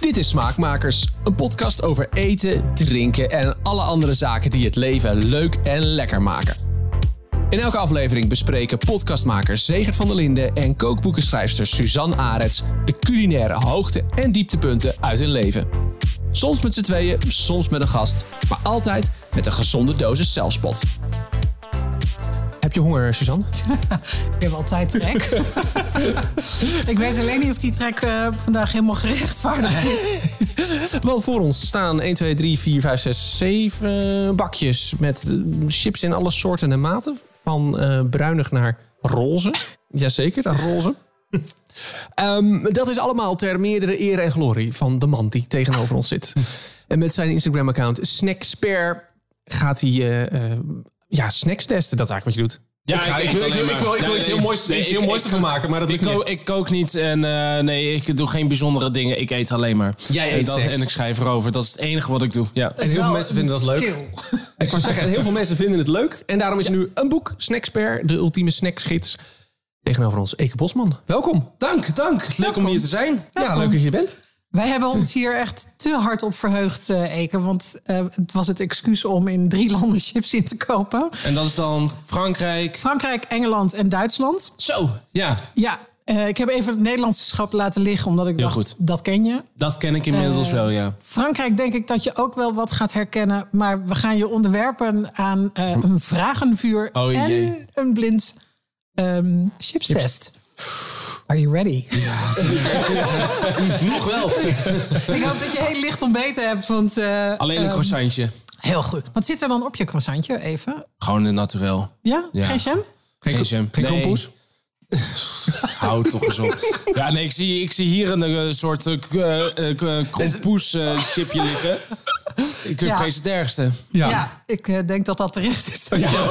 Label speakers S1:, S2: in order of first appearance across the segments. S1: Dit is Smaakmakers, een podcast over eten, drinken en alle andere zaken die het leven leuk en lekker maken. In elke aflevering bespreken podcastmakers Zegert van der Linden en kookboekenschrijfster Suzanne Arets de culinaire hoogte- en dieptepunten uit hun leven. Soms met z'n tweeën, soms met een gast, maar altijd met een gezonde dosis zelfspot. Heb je honger, Suzanne?
S2: Ik heb altijd trek. ik weet alleen niet of die trek eh, vandaag helemaal gerechtvaardigd is.
S1: Want voor ons staan 1, 2, 3, 4, 5, 6, 7 bakjes met eh, chips in alle soorten en maten. Van eh, bruinig naar roze. Jazeker, naar roze. Ehm, dat is allemaal ter meerdere eer en glorie van de man die tegenover ons zit. En met zijn Instagram-account Snackspare gaat hij eh, eh, ja, snacks testen. Dat is eigenlijk wat je doet.
S3: Ja,
S1: ga-
S3: ik-
S1: wil- wil-
S3: ik- alleen
S1: ik wil- ik
S3: maar.
S1: wil iets
S3: Nee,
S1: heel moois,
S3: nee,
S1: iets
S3: ik-
S1: heel moois
S3: ik-
S1: ervan maken, maar dat
S3: Ik
S1: lukt niet.
S3: kook, ik kook niet en eh, nee, ik doe geen bijzondere dingen. Ik eet alleen maar.
S1: Jij
S3: en,
S1: eet Eh,
S3: dat,
S1: snacks.
S3: en ik schrijf erover. Dat is het enige wat ik doe. Ja.
S1: En heel veel
S2: Wel
S1: mensen vinden dat leuk.
S2: skill.
S1: Ik wou zeggen, heel veel mensen vinden het leuk. En daarom is er nu een boek, Snacksper, de ultieme snacksgids. Tegenover ons, Eke Bosman. Welkom.
S3: Dank, dank. Leuk om hier te zijn.
S1: Ja, leuk dat je er bent.
S2: Wij hebben ons hier echt te hard op verheugd, eh Eken. Want eh, het was het excuus om in drie landen chips in te kopen.
S3: En dat is dan Frankrijk.
S2: Frankrijk, Engeland en Duitsland.
S3: Zo, ja,
S2: Ja, eh, ik heb even het Nederlandse schap laten liggen. Omdat ik dacht,
S3: goed.
S2: dat ken je.
S3: dat ken ik inmiddels wel, ja.
S2: Frankrijk denk ik dat je ook wel wat gaat herkennen. Maar we gaan je onderwerpen aan eh, een vragenvuur
S3: Oh, jee.
S2: en een blind ehm chipstest. Are you ready?
S3: Nog wel.
S2: ik hoop dat je heel licht ontbeten hebt. Want, eh,
S3: Alleen een
S2: ehm,
S3: croissantje.
S2: Heel goed. Wat zit er dan op je croissantje even?
S3: Gewoon een naturel.
S2: Ja?
S3: Ja.
S2: Geen jam?
S3: Geen jam.
S1: Geen
S3: Nee.
S1: krompoes?
S3: Hou toch eens op. Ja, nee, ik zie, ik zie hier een eh, soort eh, k- eh, k- krompoes eh, chipje liggen. Ik eh,
S2: Ja.
S3: vrees het ergste.
S2: Ja. ik eh, denk dat dat terecht is.
S1: Ja.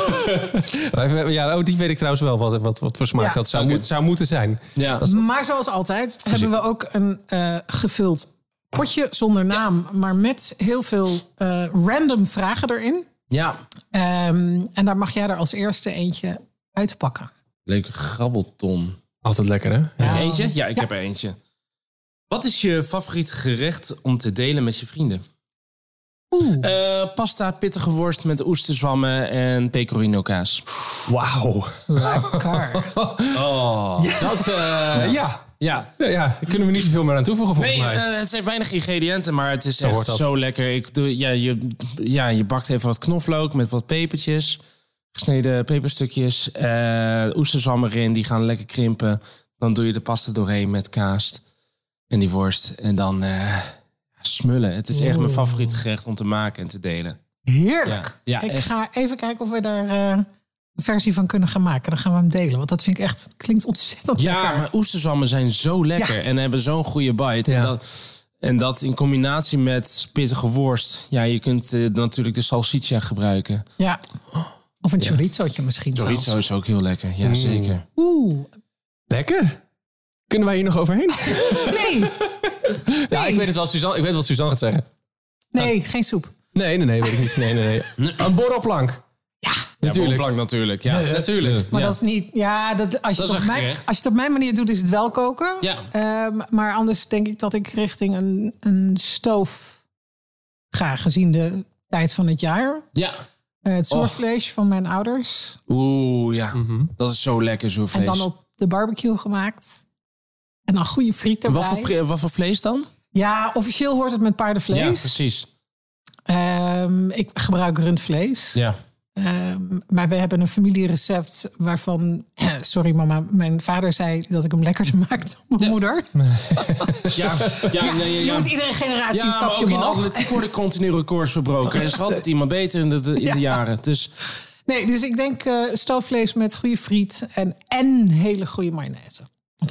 S1: ja, oh, die weet ik trouwens wel wat, wat, wat voor smaak
S2: Ja.
S1: dat zou,
S3: Oké.
S1: moet- zou moeten zijn.
S3: Ja.
S2: Maar zoals altijd hebben we ook een eh, gevuld potje zonder naam. Maar met heel veel eh, random vragen erin.
S3: Ja.
S2: Ehm, en daar mag jij er als eerste eentje uitpakken.
S3: Leuke grabbelton.
S1: Altijd lekker, hè?
S3: Heb je eentje? Ja, ik heb er eentje. Wat is je favoriet gerecht om te delen met je vrienden?
S2: Oeh.
S3: Eh, pasta, pittige worst met oesterzwammen en pecorino kaas.
S1: Wauw.
S2: Lekker.
S3: Oh.
S1: Dat, eh, ja.
S3: Ja.
S1: Ja, ja. Daar kunnen we niet zoveel meer aan toevoegen, volgens
S3: Nee,
S1: mij.
S3: eh, het zijn weinig ingrediënten, maar het is
S1: hoort
S3: echt
S1: dat.
S3: zo lekker. Ik doe, ja, je, ja, je bakt even wat knoflook met wat pepertjes. Gesneden peperstukjes. eh oesterzwam erin, die gaan lekker krimpen. Dan doe je de pasta doorheen met kaas en die worst. En dan eh, smullen. Het is echt mijn favoriete gerecht om te maken en te delen.
S2: Heerlijk.
S3: Ja, ja,
S2: ik
S3: echt.
S2: ga even kijken of we daar eh, een versie van kunnen gaan maken. Dan gaan we hem delen. Want dat vind ik echt het klinkt ontzettend
S3: Ja,
S2: lekker.
S3: maar oesterzwammen zijn zo lekker
S2: Ja.
S3: en hebben zo'n goede bite.
S1: Ja.
S3: En, dat, en dat in combinatie met pittige worst. Ja, je kunt eh, natuurlijk de salsiccia gebruiken.
S2: Ja. Of een chorizootje misschien
S3: Chorizo
S2: zelfs.
S3: is ook heel lekker, ja zeker.
S2: Oeh.
S1: Lekker. Kunnen wij hier nog overheen?
S2: Nee,
S1: Ja, ik weet het wel. Suzanne, ik weet wat Suzanne gaat zeggen.
S2: nee, geen soep.
S1: Nee, nee, nee, weet ik niet. Nee, nee, nee. Een borrelplank. Natuurlijk.
S3: bonplank natuurlijk, ja. natuurlijk.
S2: Maar dat is niet. Ja, dat, als, je
S3: Dat
S2: het
S3: is
S2: op
S3: een
S2: mijn, als
S3: gerecht.
S2: je het op mijn manier doet, is het wel koken.
S3: Ja.
S2: Ehm, maar anders denk ik dat ik richting een, een stoof ga, gezien de tijd van het jaar.
S3: Ja.
S2: Eh, het zorgvlees van mijn ouders.
S3: Oeh, ja. Dat is zo lekker, zo'n
S2: En
S3: vlees.
S2: dan op de barbecue gemaakt. En dan goede friet erbij.
S3: wat, voor vle- wat voor vlees dan?
S2: Ja, officieel hoort het met paardenvlees.
S3: Ja, precies.
S2: Ehm, ik gebruik rundvlees.
S3: Ja.
S2: Ehm, maar we hebben een familierecept waarvan... Sorry mama, mijn vader zei dat ik hem lekkerder maakte dan mijn moeder.
S3: Ja, ja, ja, ja,
S2: Je
S3: ja.
S2: moet iedere generatie
S3: Ja,
S2: een
S3: maar
S2: stapje
S3: ook in de
S2: omhoog.
S3: atletiek worden continu records verbroken. Er is altijd iemand beter in de, de- in de jaren. Dus
S2: Nee, dus ik denk eh stoofvlees met goede friet en, en hele goede mayonaise.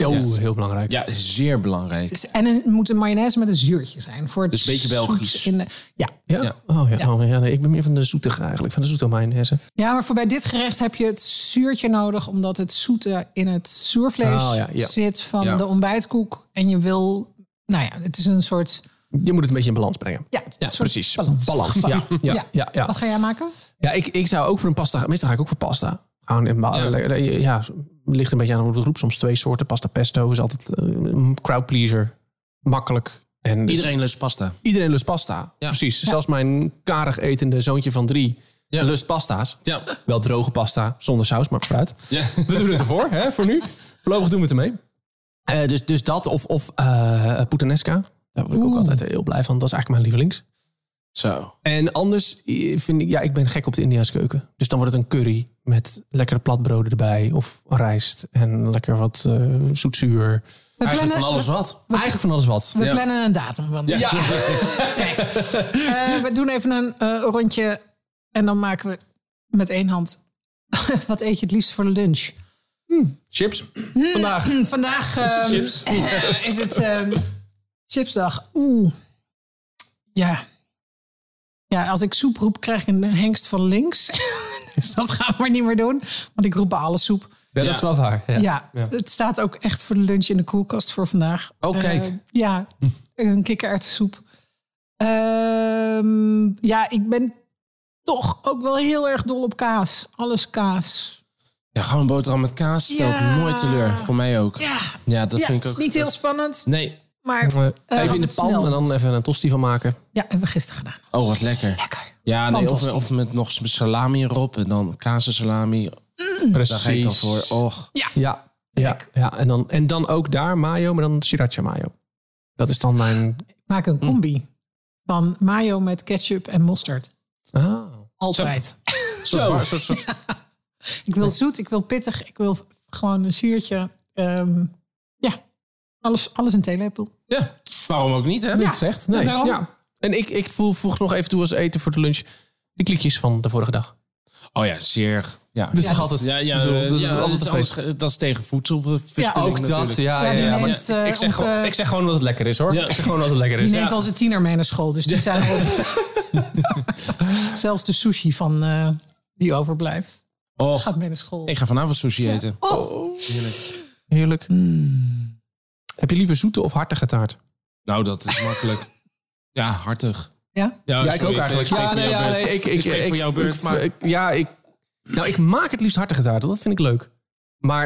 S1: Oh, heel belangrijk.
S3: ja, zeer belangrijk.
S2: Dus, en een, moet een mayonaise met een zuurtje zijn. Voor het
S3: Dus een beetje
S2: zoets
S3: Belgisch.
S2: In de, ja.
S1: Ja?
S3: Ja.
S1: Oh ja, oh, ja nee, ik ben meer van de zoetige eigenlijk, van de zoete mayonaise.
S2: ja, maar voor bij dit gerecht heb je het zuurtje nodig... omdat het zoete in het zoervlees
S1: Oh, ja, ja.
S2: zit van
S3: Ja.
S2: de ontbijtkoek. En je wil... Nou ja, het is een soort...
S1: Je moet het een beetje in balans brengen.
S2: Ja, het is een soort
S1: precies.
S2: Balans.
S1: Balans, ja. Ja, ja, ja,
S2: Wat ga jij maken?
S1: Ja, ik, ik zou ook voor een pasta gaan. Meestal ga ik ook voor pasta. Gewoon in ba- ja. ligt een beetje aan hoe de groep. Soms twee soorten. Pasta pesto is altijd eh, een crowd pleaser. Makkelijk. En dus
S3: Iedereen lust pasta.
S1: iedereen lust pasta.
S3: Ja.
S1: Precies. Zelfs mijn karig etende zoontje van drie lust pasta's.
S3: Ja.
S1: Wel droge pasta, zonder saus, maar fruit.
S3: Ja.
S1: We doen het ervoor, hè, voor nu. Voorlopig doen we het ermee. Eh, dus, dus dat of, of eh, puttanesca. Daar word ik ook altijd heel blij van. Dat is eigenlijk mijn lievelings.
S3: Zo.
S1: En anders eh, vind ik, ja, ik ben gek op de India's keuken. Dus dan wordt het een curry met lekkere platbroden erbij. Of rijst en lekker wat eh, zoetzuur.
S2: We
S3: Eigenlijk
S2: plannen,
S3: van alles wat.
S1: Eigenlijk van alles wat.
S2: we
S3: Ja.
S2: plannen een datum. Want ja. Trek. Eh, we doen even een eh, rondje en dan maken we met één hand. Wat eet je het liefst voor lunch?
S1: Chips. Vandaag.
S2: Hm, Vandaag ehm,
S3: Chips.
S2: eh, is het ehm, chipsdag. Oeh. Ja. Ja, als ik soep roep, krijg ik een hengst van links. dus dat gaan we maar niet meer doen. Want ik roep bij alle soep.
S1: Ja, dat is wel waar. Ja. Eh,
S2: Ja, het staat ook echt voor de lunch in de koelkast voor vandaag.
S3: Oh,
S2: Eh,
S3: kijk.
S2: ja, een kikkererwtensoep. Ehm ja, ik ben toch ook wel heel erg dol op kaas. Alles kaas.
S3: Ja, gewoon een boterham met kaas stelt
S2: Ja.
S3: nooit teleur. Voor mij ook.
S2: Ja,
S3: Ja, dat
S2: ja
S3: vind ik
S2: het
S3: ook.
S2: is niet heel spannend,
S3: Nee.
S2: maar...
S1: Eh,
S2: eh,
S1: even
S2: was
S1: in de
S2: het
S1: pan
S2: snel.
S1: en dan even een tosti van maken.
S2: Ja, hebben we gisteren gedaan.
S3: Oh, wat lekker.
S2: Lekker.
S3: Ja, nee, of,
S2: Pantoffel.
S3: of met nog salami erop en dan kazensalami. Daar ga ik dan voor. Oh. Och.
S2: Ja,
S1: Ja, ja, ja. En, dan, en dan ook daar mayo, maar dan sriracha mayo. Dat is dan mijn...
S2: ik maak een combi van mayo met ketchup en mosterd.
S1: Ah.
S2: Altijd.
S3: Zo. Soort, soort,
S2: Ik wil zoet, ik wil pittig, ik wil gewoon een zuurtje. Ehm, ja, alles, alles een theelepel.
S1: Dus
S3: ja. Waarom ook niet, hè?
S1: Niet zegt. Nee.
S2: daarom.
S1: Ja. En ik, ik voel, voeg nog even toe als eten voor de lunch die klikjes van de vorige dag.
S3: Oh ja, zeer. Ja,
S1: Dus dat- ja, ja,
S3: bedoel,
S1: eh,
S3: dat,
S1: ja,
S3: is
S1: dat
S3: altijd
S1: is
S3: een feest. dat is tegen voedselverspilling
S2: Ja, ook
S3: natuurlijk.
S2: Ja, die
S1: maar
S2: neemt,
S1: ik-
S2: eh,
S1: ik, zeg
S2: onze-
S1: gewoon, ik zeg gewoon dat het lekker is, hoor.
S3: Ja.
S1: Ik zeg gewoon dat het lekker is.
S2: Die neemt al zijn tiener mee naar school, dus die zijn op. Zelfs de sushi van eh, die overblijft
S3: Och,
S2: gaat mee naar school.
S3: ik ga vanavond sushi eten.
S2: Oh.
S1: Heerlijk.
S3: Hmm.
S1: Heb je liever zoete of hartige taart?
S3: Nou, dat is makkelijk. ja, hartig.
S2: Ja?
S3: Ja, sorry, Ik,
S1: Ja,
S3: ik,
S1: nee,
S3: voor
S1: ja,
S3: jouw
S1: nee,
S3: beurt.
S1: ik,
S3: Ik
S1: ik,
S3: spreek
S1: ik-
S3: voor jouw beurt,
S1: ik-
S3: maar-
S1: ik- ja, ik, nou, ik maak het liefst hartige taarten. Dat vind ik leuk. Maar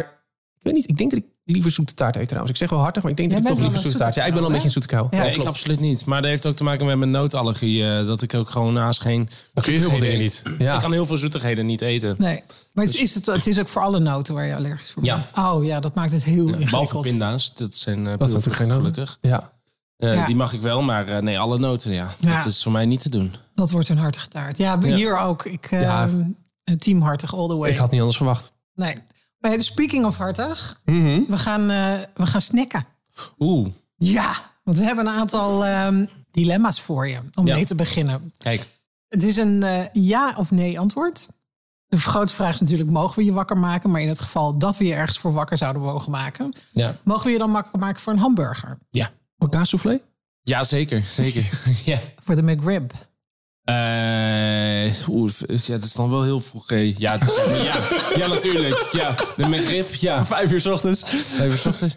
S1: ik weet niet, ik denk dat ik liever zoete taart eet trouwens. Ik zeg wel hartig, maar ik denk dat
S2: Jij
S1: ik toch
S2: bent
S1: liever
S2: wel
S1: zoete
S2: een
S1: taart. Ja, ik ben wel een beetje een zoete kou.
S2: Ja,
S3: Nee, ik absoluut niet. Maar dat heeft ook te maken met mijn noodallergie. eh, dat ik ook gewoon naast geen
S1: kun je heel veel
S3: zoetigheden
S1: dingen
S3: eet.
S1: niet. Ja.
S3: Ik kan heel veel zoetigheden niet eten.
S2: Nee, maar het is, het, het is ook voor alle noten waar je allergisch voor
S3: Ja.
S2: bent. Oh ja, dat maakt het heel
S3: Behalve
S2: ingewikkeld.
S3: pinda's, dat zijn eh
S1: Dat is natuurlijk geen
S3: peulvruchten,
S1: nood.
S3: gelukkig.
S1: Ja.
S3: Eh,
S2: Ja.
S3: Die mag ik wel, maar eh, nee, alle noten, ja.
S2: Ja.
S3: Dat is voor mij niet te doen.
S2: Dat wordt een hartige taart. Ja, hier ook. Ik, eh,
S1: Ja.
S2: een teamhartig all the way.
S1: Ik had niet anders verwacht.
S2: Nee. Maar ja, speaking of hartig, we, gaan, eh, we gaan snacken.
S3: Oeh,
S2: Ja, want we hebben een aantal ehm, dilemma's voor je om
S3: Ja.
S2: mee te beginnen.
S3: kijk.
S2: Het is een eh, ja of nee antwoord. De grote vraag is natuurlijk, mogen we je wakker maken? Maar in het geval dat we je ergens voor wakker zouden mogen maken...
S3: Ja,
S2: mogen we je dan wakker maken voor een hamburger?
S3: ja.
S1: Een kaassoufflé?
S3: ja zeker, zeker. ja.
S2: Voor de McRib?
S3: Eh, oeh, dus ja, dat is dan wel heel vroeg. hè. Ja, dat is- ja, ja, natuurlijk. Ja, de McRib, ja.
S1: Vijf uur 's ochtends.
S3: Vijf uur 's ochtends.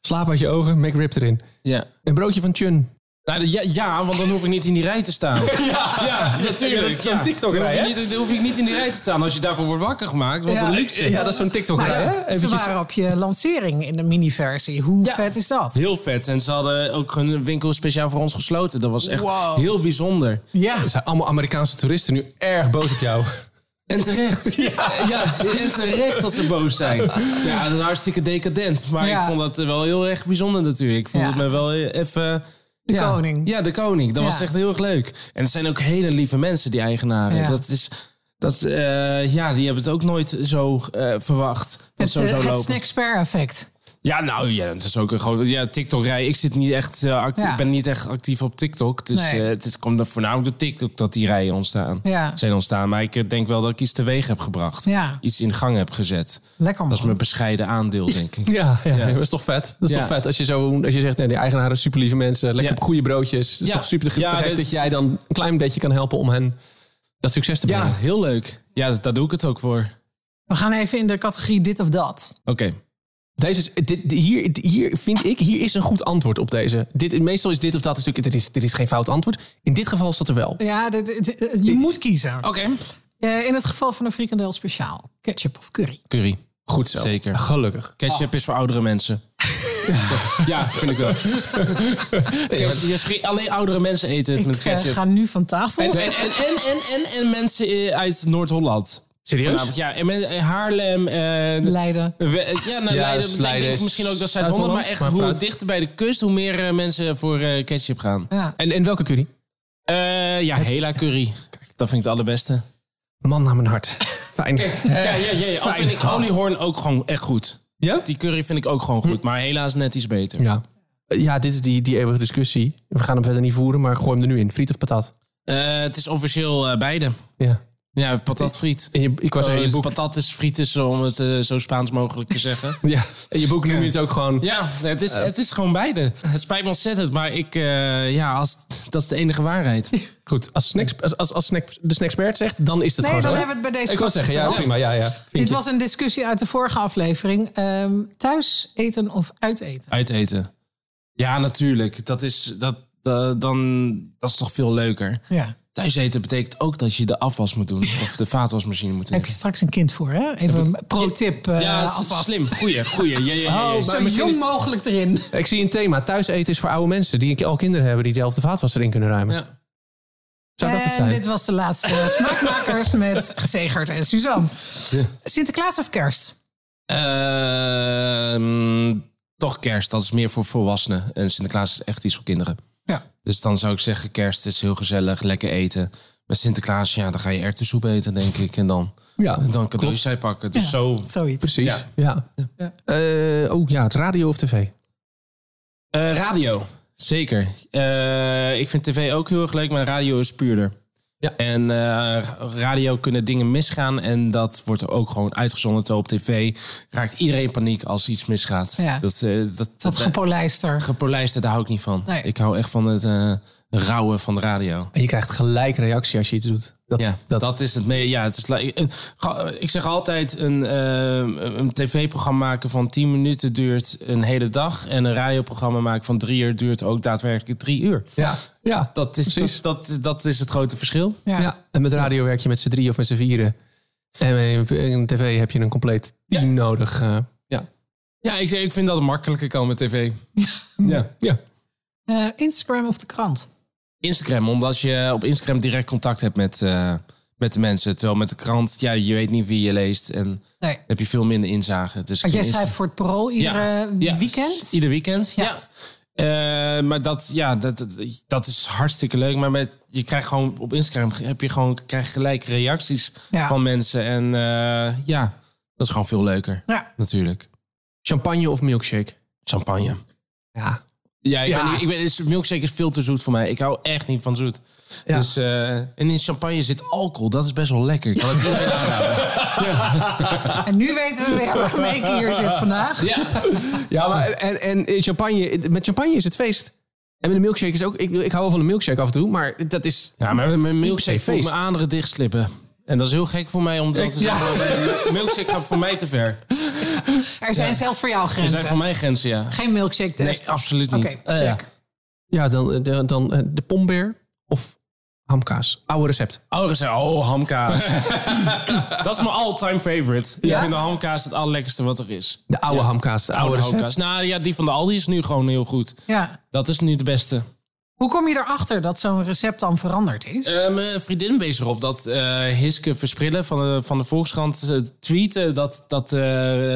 S1: Slaap uit je ogen, McRib erin.
S3: Ja.
S1: Een broodje van Chun.
S3: Nou, de- ja, ja, want dan hoef ik niet in die rij te staan. Ja, natuurlijk.
S1: Dat is zo'n
S3: ja.
S1: TikTok-rij,
S3: Dan hoef ik
S1: hè?
S3: niet- Dan hoef ik niet in die rij te staan als je daarvoor wordt wakker gemaakt. Want
S2: Ja.
S3: de luxe.
S1: Ja, dat is zo'n TikTok.
S2: Nou,
S1: hè?
S2: ze- ze
S1: Eventjes-
S2: waren op je lancering in de mini-versie. Hoe vet is dat?
S3: Heel vet. En ze hadden ook een winkel speciaal voor ons gesloten. Dat was echt
S2: Wow.
S3: heel bijzonder.
S2: Ja,
S1: Er zijn allemaal Amerikaanse toeristen nu erg boos op jou.
S3: En terecht. Ja. en terecht dat ze boos zijn. Ja, dat is hartstikke decadent. Maar
S2: Ja.
S3: ik vond dat eh, wel heel erg bijzonder natuurlijk. Ik vond
S2: Ja.
S3: het me wel even... De ja.
S2: koning.
S3: Ja, de koning. Dat
S2: Ja.
S3: was echt heel erg leuk. En het zijn ook hele lieve mensen, die eigenaren.
S2: Ja.
S3: Dat is... Dat, eh, ja, die hebben het ook nooit zo eh, verwacht. Dat
S2: het,
S3: zo
S2: eh,
S3: zou
S2: het
S3: lopen.
S2: snackspare-effect.
S3: Ja, nou ja, dat is ook een grote. Ja, TikTok-rij. Ik zit niet echt eh, actief.
S2: Ja.
S3: Ik ben niet echt actief op TikTok. Dus
S2: Nee.
S3: eh, het is, komt er voornamelijk door TikTok dat die rijen ontstaan.
S2: Ja.
S3: Zijn ontstaan. Maar ik eh, denk wel dat ik iets teweeg heb gebracht.
S2: Ja.
S3: Iets in gang heb gezet.
S2: Lekker man.
S3: Dat is mijn bescheiden aandeel, denk ik.
S1: Ja, ja, dat is toch vet. Dat is
S3: Ja.
S1: toch vet als je, zo, als je zegt, nee, die eigenaren zijn super lieve mensen, lekker
S3: Ja.
S1: goede broodjes. Het is
S3: Ja.
S1: toch super te
S3: Ja,
S1: gek
S3: dit
S1: dat
S3: is-
S1: jij dan een klein beetje kan helpen om hen dat succes te
S3: Ja,
S1: brengen.
S3: heel leuk. Ja, dat- daar doe ik het ook voor. Oké.
S2: We gaan even in de categorie dit of dat.
S1: Deze is, dit, hier, hier vind ik, hier is een goed antwoord op deze. Dit, meestal is dit of dat is natuurlijk, er is, er is geen fout antwoord. In dit geval is dat er wel.
S2: Ja, dit, dit- dit- je moet kiezen.
S3: Oké.
S2: Eh, in het geval van een frikandel speciaal. Ketchup of curry?
S3: Curry.
S1: Goed zo.
S3: Zeker.
S1: Gelukkig.
S3: Ketchup is voor oudere mensen. Ja, vind ik wel. alleen oudere mensen eten het
S2: Ik
S3: met
S2: eh,
S3: ketchup.
S2: ga nu van tafel.
S3: En, en, en, en, en, en, en mensen eh, uit Noord-Holland.
S1: Serieus?
S3: Voornamelijk, Ja, en men- eh, Haarlem. En,
S2: Leiden.
S3: ja, nou,
S1: Ja,
S3: Leiden.
S1: dus
S3: Ik
S1: Leiden
S3: denk
S1: is
S3: misschien ook dat Zuid-Holland.
S1: Zuid-Holland,
S3: Maar echt,
S1: maar
S3: hoe
S1: vooruit.
S3: dichter bij de kust, hoe meer eh, mensen voor eh, ketchup gaan.
S2: Ja.
S1: En, en welke curry?
S3: Eh, ja, Hela curry. Dat vind ik de allerbeste.
S1: Man naar mijn hart. Fijn.
S3: Ja, ja, ja. ja. Al vind ik oliehoorn ook gewoon echt goed.
S1: Ja?
S3: Die curry vind ik ook gewoon goed. Maar helaas net iets beter.
S1: Ja. Eh, Ja, dit is die, die eeuwige discussie. We gaan hem verder niet voeren, maar gooi hem er nu in. Friet of patat?
S3: Eh, het is officieel eh, beide.
S1: Ja.
S3: Ja, patatfriet.
S1: In je, ik
S2: Oh,
S1: was in je
S2: dus
S3: Eh,
S1: boek.
S3: patat is friet, is, om het eh, zo Spaans mogelijk te zeggen.
S1: Ja. In je boek noem je het ook gewoon.
S3: Ja, het is, het is gewoon beide. Het spijt me ontzettend, maar ik, eh, ja, als, dat is de enige waarheid.
S1: Goed, als, snacks, als, als, als snack, de snackspert zegt, dan is het
S2: Nee,
S1: gewoon
S2: dan
S1: zo. hè?
S2: hebben we het bij deze
S1: Ik wil
S2: vast
S1: zeggen, ja,
S2: gesteld.
S1: prima. Ja, ja. Vind
S2: Dit
S1: je-
S2: was een discussie uit de vorige aflevering. Ehm, thuis eten of uiteten?
S3: Uiteten. Ja, natuurlijk. Dat is, dat, eh, dan, dat is toch veel leuker.
S2: Ja.
S3: Thuis eten betekent ook dat je de afwas moet doen. Of de vaatwasmachine moet in.
S2: Heb je straks een kind voor, hè? Even een pro-tip. eh
S3: Ja, s-
S2: alvast.
S3: slim. Oh, Goeie, goeie. Ja, ja, ja, ja.
S1: maar
S2: Zo
S1: misschien
S2: jong
S1: is-
S2: mogelijk erin.
S1: Ik zie een thema. Thuis eten is voor oude mensen die al kinderen hebben die de helft de vaatwasser in kunnen ruimen.
S3: Ja.
S1: Zou dat het
S2: En
S1: zijn?
S2: dit was de laatste Smaakmakers met Segert en Suzanne. Sinterklaas of kerst?
S3: Ehm, toch kerst, dat is meer voor volwassenen. En Sinterklaas is echt iets voor kinderen.
S2: Ja.
S3: Dus dan zou ik zeggen, kerst is heel gezellig, lekker eten. Met Sinterklaas, ja, dan ga je erwtensoep eten, denk ik. En dan,
S1: Ja,
S3: en dan cadeautjes uitpakken. Dus
S2: Ja,
S3: zo...
S2: Zoiets.
S1: Precies. Ja. Eh, oh ja, radio of tv?
S3: Eh, radio, zeker. Eh, ik vind tv ook heel erg leuk, maar radio is puurder.
S1: Ja.
S3: En eh, radio kunnen dingen misgaan en dat wordt er ook gewoon uitgezonden. Terwijl op tv raakt iedereen paniek als iets misgaat.
S2: Ja.
S3: Dat, eh, dat,
S2: Wat
S3: dat-
S2: gepolijster.
S3: Gepolijster, daar hou ik niet van.
S2: Nee.
S3: Ik hou echt van het eh rauwe van de radio.
S1: En je krijgt gelijk reactie als je iets doet. Dat,
S3: Ja, dat, is het. mee- Ja, het is, li- eh, ga- ik zeg altijd, een, eh, een tv-programma maken van 10 minuten duurt een hele dag. En een radioprogramma maken van drie uur duurt ook daadwerkelijk drie uur.
S1: ja. Ja.
S3: Dat is,
S1: Precies.
S3: dat, dat, dat is het grote verschil.
S1: ja. En met radio werk je met z'n drie of met z'n vieren. En in- in tv heb je een compleet team nodig. eh, ja.
S3: Ja, ik, zeg- ik vind dat een makkelijke kant met tv. ja.
S1: Mm. ja.
S2: Eh, Instagram of de krant?
S3: Instagram, omdat je op Instagram direct contact hebt met, eh, met de mensen. Terwijl met de krant, ja, je weet niet wie je leest. En
S2: Nee.
S3: heb je veel minder inzage. Dus
S2: Want jij
S3: Insta-
S2: schrijft voor het parool ieder eh,
S3: Ja,
S2: weekend.
S3: s- Ieder weekend, ja. Eh, maar dat, ja, dat, dat- dat is hartstikke leuk. Maar met, je krijgt gewoon op Instagram heb je gewoon, krijg je gelijk reacties
S2: Ja.
S3: van mensen. En eh, ja, dat is gewoon veel leuker,
S2: Ja.
S3: natuurlijk.
S1: Champagne of milkshake?
S3: Champagne.
S1: Ja.
S3: Ja, ik
S1: Ja.
S3: Ben, niet- ik ben, is- milkshake is veel te zoet voor mij. Ik hou echt niet van zoet.
S1: Ja.
S3: Dus, eh, en in champagne zit alcohol. Dat is best wel lekker. Ik kan het iedereen aanraden.
S2: En nu weten we weer waarom ik hier zit vandaag.
S1: Ja, maar en, en in champagne, met champagne is het feest. En met een milkshake is ook... Ik, ik hou wel van een milkshake af en toe, maar dat is...
S3: Ja, maar mijn milkshake
S1: per se
S3: voelt mijn
S1: feest.
S3: aderen dichtslippen. En dat is heel gek voor mij, omdat
S1: Ja.
S3: milkshake gaat voor mij te ver.
S2: Er zijn zelfs voor jou
S3: Er
S2: grenzen.
S3: zijn voor mij grenzen, ja.
S2: Geen milkshake test.
S3: Nee, absoluut
S2: Oké,
S3: niet. Eh, ja.
S2: check.
S1: Ja, dan, dan, dan eh, de pombeer of hamkaas. Oude recept.
S3: Ouderen zeggen, oh, hamkaas. dat is mijn all-time favorite. Ik vind de hamkaas het allerlekkerste wat er is.
S1: De oude hamkaas, de oude,
S3: Oude
S1: recept.
S3: hamkaas. Nou ja, die van de Aldi is nu gewoon heel goed.
S2: Ja.
S3: Dat is nu de beste.
S2: Hoe kom je erachter dat zo'n recept dan veranderd is?
S3: Eh, mijn vriendin wees erop dat eh, Hiske Versprillen van de, van de Volkskrant eh, tweette dat, dat, eh,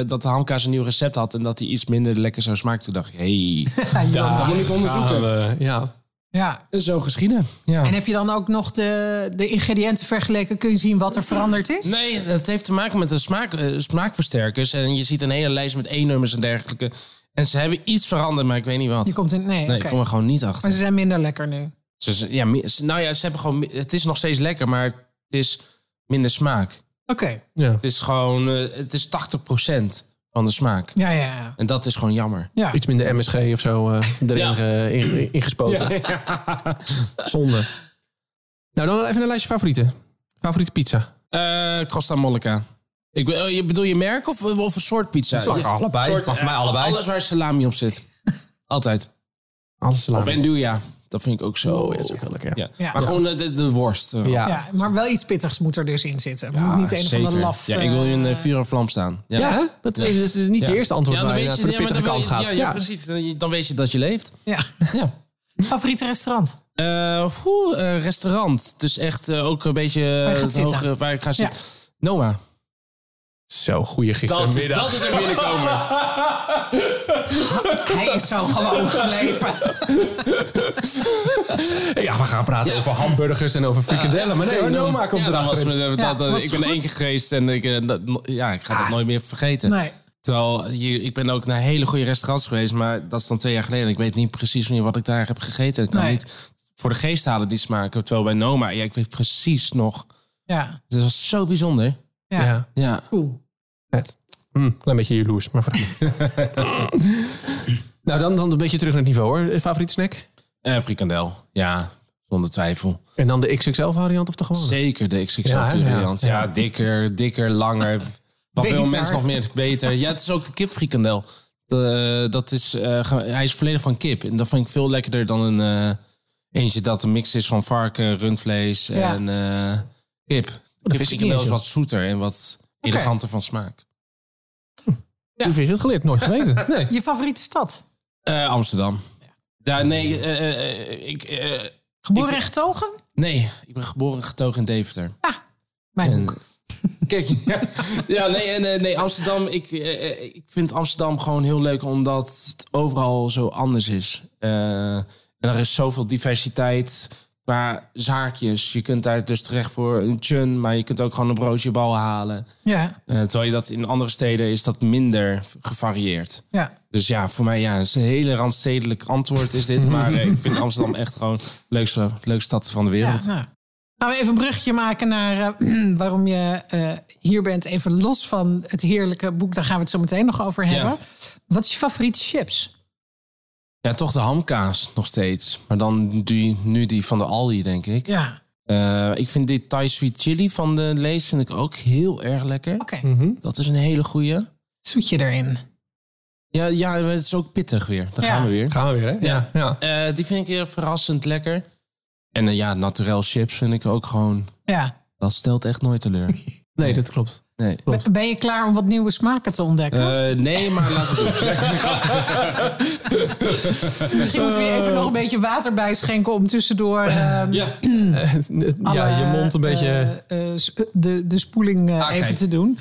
S3: dat de hamkaas een nieuw recept had en dat hij iets minder lekker zou smaken. Toen dacht ik, hey,
S2: ja.
S3: dat moet ik onderzoeken.
S1: Eh, ja.
S2: ja.
S3: Zo geschieden. Ja.
S2: En heb je dan ook nog de, de ingrediënten vergeleken? Kun je zien wat er veranderd is?
S3: Nee, dat heeft te maken met de smaak, eh, smaakversterkers. En je ziet een hele lijst met E-nummers en dergelijke. En ze hebben iets veranderd, maar ik weet niet wat.
S2: Je komt in, nee,
S3: nee,
S2: oké.
S3: ik kom er gewoon niet
S2: Maar
S3: achter.
S2: ze zijn minder lekker nu.
S3: Ze- ze- ja, mi- ze- nou ja, ze hebben gewoon, mi- het is nog steeds lekker, maar het is minder smaak.
S2: Oké,
S1: ja.
S3: Het is gewoon eh, het is 80% van de smaak.
S2: ja, ja, ja.
S3: En dat is gewoon jammer.
S2: ja.
S1: Ah. Iets minder MSG of zo eh, erin
S3: Ja.
S1: ge- in- ingespoten. Zonde. Nou, dan even een lijstje favorieten. Favoriete pizza.
S3: Eh, Costa Mollica. Ik, be- oh, je bedoel je merk of, eh, of een soort pizza?
S1: Soort,
S3: Ja,
S1: allebei. Mag voor mij allebei.
S3: Alles waar salami op zit. Altijd.
S1: Alles salami.
S3: Of enduja. Dat vind ik ook zo.
S1: Oh, ja, dat is ook wel lekker.
S3: Ja.
S2: Ja.
S3: Maar
S2: Ja.
S3: gewoon eh, de, de worst. eh.
S1: Ja.
S2: Ja, maar wel iets pittigs moet er dus in zitten. moet niet een of
S3: Zeker.
S2: andere laf...
S3: Ja, ik wil je een eh, vuur en vlam staan. Ja.
S1: Ja, hè? dat is, dat is niet
S3: Ja.
S1: je eerste antwoord
S3: Ja, dan
S1: waar je
S3: weet
S1: naar
S3: je-
S1: voor de
S3: ja, maar
S1: pittige
S3: dan
S1: kant
S3: weet je-
S1: gaat.
S3: Ja, ja, precies. Dan- Dan weet je dat je leeft.
S2: Ja.
S3: Ja.
S2: Favoriete restaurant?
S3: Eh, poeh, eh, restaurant. Dus echt eh, ook een beetje
S2: je
S3: eh,
S2: gaat
S3: het
S2: zitten.
S3: hogere waar ik ga
S2: Ja.
S3: zitten. Noah.
S1: Zo, goeie gistermiddag.
S3: dat is er binnenkomen.
S2: Hij is zo gewoon gebleven.
S1: Ja, we gaan praten over hamburgers en over frikandellen. Maar nee,
S3: Ja,
S1: Noma komt
S3: ja, dat was
S1: erachter.
S3: me- dat-
S2: Ja,
S3: dat-
S2: was
S3: ik ben
S2: goed.
S3: één keer geweest en ik, eh, dat- no- ja, ik ga
S1: Ah.
S3: dat nooit meer vergeten.
S2: Nee.
S3: Terwijl je, ik ben ook naar hele goede restaurants geweest, maar dat is dan twee jaar geleden. Ik weet niet precies meer wat ik daar heb gegeten. Ik kan
S2: Nee.
S3: niet voor de geest halen die smaken. Terwijl bij Noma, ja, ik weet precies nog.
S2: Ja.
S3: Het was zo bijzonder.
S2: Ja.
S1: Ja,
S3: Ja.
S2: Cool.
S1: net. Hm, een beetje jaloers, maar vooruit. nou, dan, dan een beetje terug naar het niveau hoor. Favoriete snack?
S3: Eh, frikandel, ja, zonder twijfel.
S1: En dan de XXL-variant of de gewone?
S3: Zeker de
S1: Ja, hè?
S3: XXL-variant. Ja,
S1: Ja. Ja.
S3: dikker, dikker, langer. Wat
S2: Beter.
S3: veel mensen nog meer beter. Ja, het is ook de kipfrikandel. De, dat is, eh, ge- hij is volledig van kip. En dat vind ik veel lekkerder dan een eh, eentje dat een mix is van varken, rundvlees
S2: Ja.
S3: en eh kip.
S1: Oh, ik niet
S3: Kipfrikandel
S1: eens,
S3: is
S1: joh.
S3: wat zoeter en wat eleganter van smaak.
S1: Ja. Hoe heb je dat geleerd? Nooit geweten. Nee.
S2: Je favoriete stad?
S3: Eh, Amsterdam. Daar, nee, eh, eh, eh, ik, eh,
S2: Geboren en getogen?
S3: nee, ik ben geboren en getogen in Deventer.
S2: Mijn
S3: En-
S2: hoek.
S3: Kijk, ja, ja nee, en, eh, nee, Amsterdam. Ik, eh, eh, ik vind Amsterdam gewoon heel leuk omdat het overal zo anders is. Eh, en er is zoveel diversiteit qua zaakjes. Je kunt daar dus terecht voor een chun, maar je kunt ook gewoon een broodje bal halen.
S2: Ja.
S3: Eh, terwijl je dat in andere steden is dat minder gevarieerd.
S2: Ja.
S3: Dus ja, voor mij ja, het is een hele randstedelijk antwoord is dit. Maar eh, ik vind Amsterdam echt gewoon de leukste, leukste stad van de
S2: ja.
S3: wereld.
S2: Nou. Gaan we even een bruggetje maken naar eh, waarom je eh, hier bent. Even los van het heerlijke boek. Daar gaan we het zo meteen nog over hebben. Wat is je favoriete chips?
S3: Ja, toch de hamkaas nog steeds. Maar dan die, nu die van de Aldi, denk ik.
S2: Ja.
S3: Eh, ik vind die Thai Sweet Chili van de Lees vind ik ook heel erg lekker.
S2: Oké.
S3: Dat is een hele goeie.
S2: Zoetje erin.
S3: Ja, ja, maar het is ook pittig weer. Daar
S2: Ja.
S3: gaan we weer.
S1: Gaan we weer, hè? Ja. ja.
S3: Eh, die vind ik heel verrassend lekker. En eh, ja, naturel chips vind ik ook gewoon...
S2: Ja.
S3: Dat stelt echt nooit teleur.
S1: Nee, dat klopt.
S3: Nee.
S2: Ben- Ben je klaar om wat nieuwe smaken te ontdekken?
S3: Eh, nee, maar laten we doen.
S2: Misschien moeten we je even nog een beetje water bijschenken om tussendoor eh,
S3: Ja.
S1: Hmm. ja,
S2: alle,
S1: je mond een beetje...
S2: eh, eh, s- de, de spoeling eh,
S3: Ah,
S2: even
S3: kijk.
S2: te doen.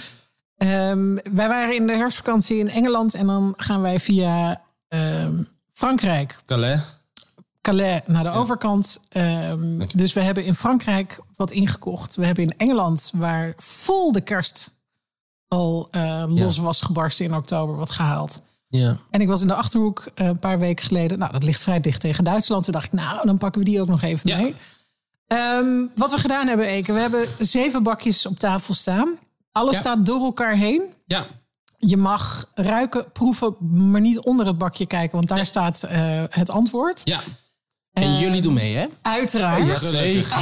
S2: Ehm, wij waren in de herfstvakantie in Engeland en dan gaan wij via ehm, Frankrijk,
S3: Calais.
S2: Calais naar de overkant. Ehm, dus we hebben in Frankrijk wat ingekocht. We hebben in Engeland, waar vol de kerst al eh, los
S3: Ja.
S2: was gebarsten in oktober, wat gehaald.
S3: Ja.
S2: En ik was in de Achterhoek eh, een paar weken geleden. Nou, dat ligt vrij dicht tegen Duitsland. Toen dacht ik, nou, dan pakken we die ook nog even
S3: Ja.
S2: mee. Ehm, wat we gedaan hebben, Eke. We hebben zeven bakjes op tafel staan. Alles
S3: Ja.
S2: staat door elkaar heen.
S3: Ja.
S2: Je mag ruiken, proeven, maar niet onder het bakje kijken. Want daar staat eh, het antwoord.
S3: Ja. En jullie doen mee, hè?
S2: Uiteraard.
S1: Zeker,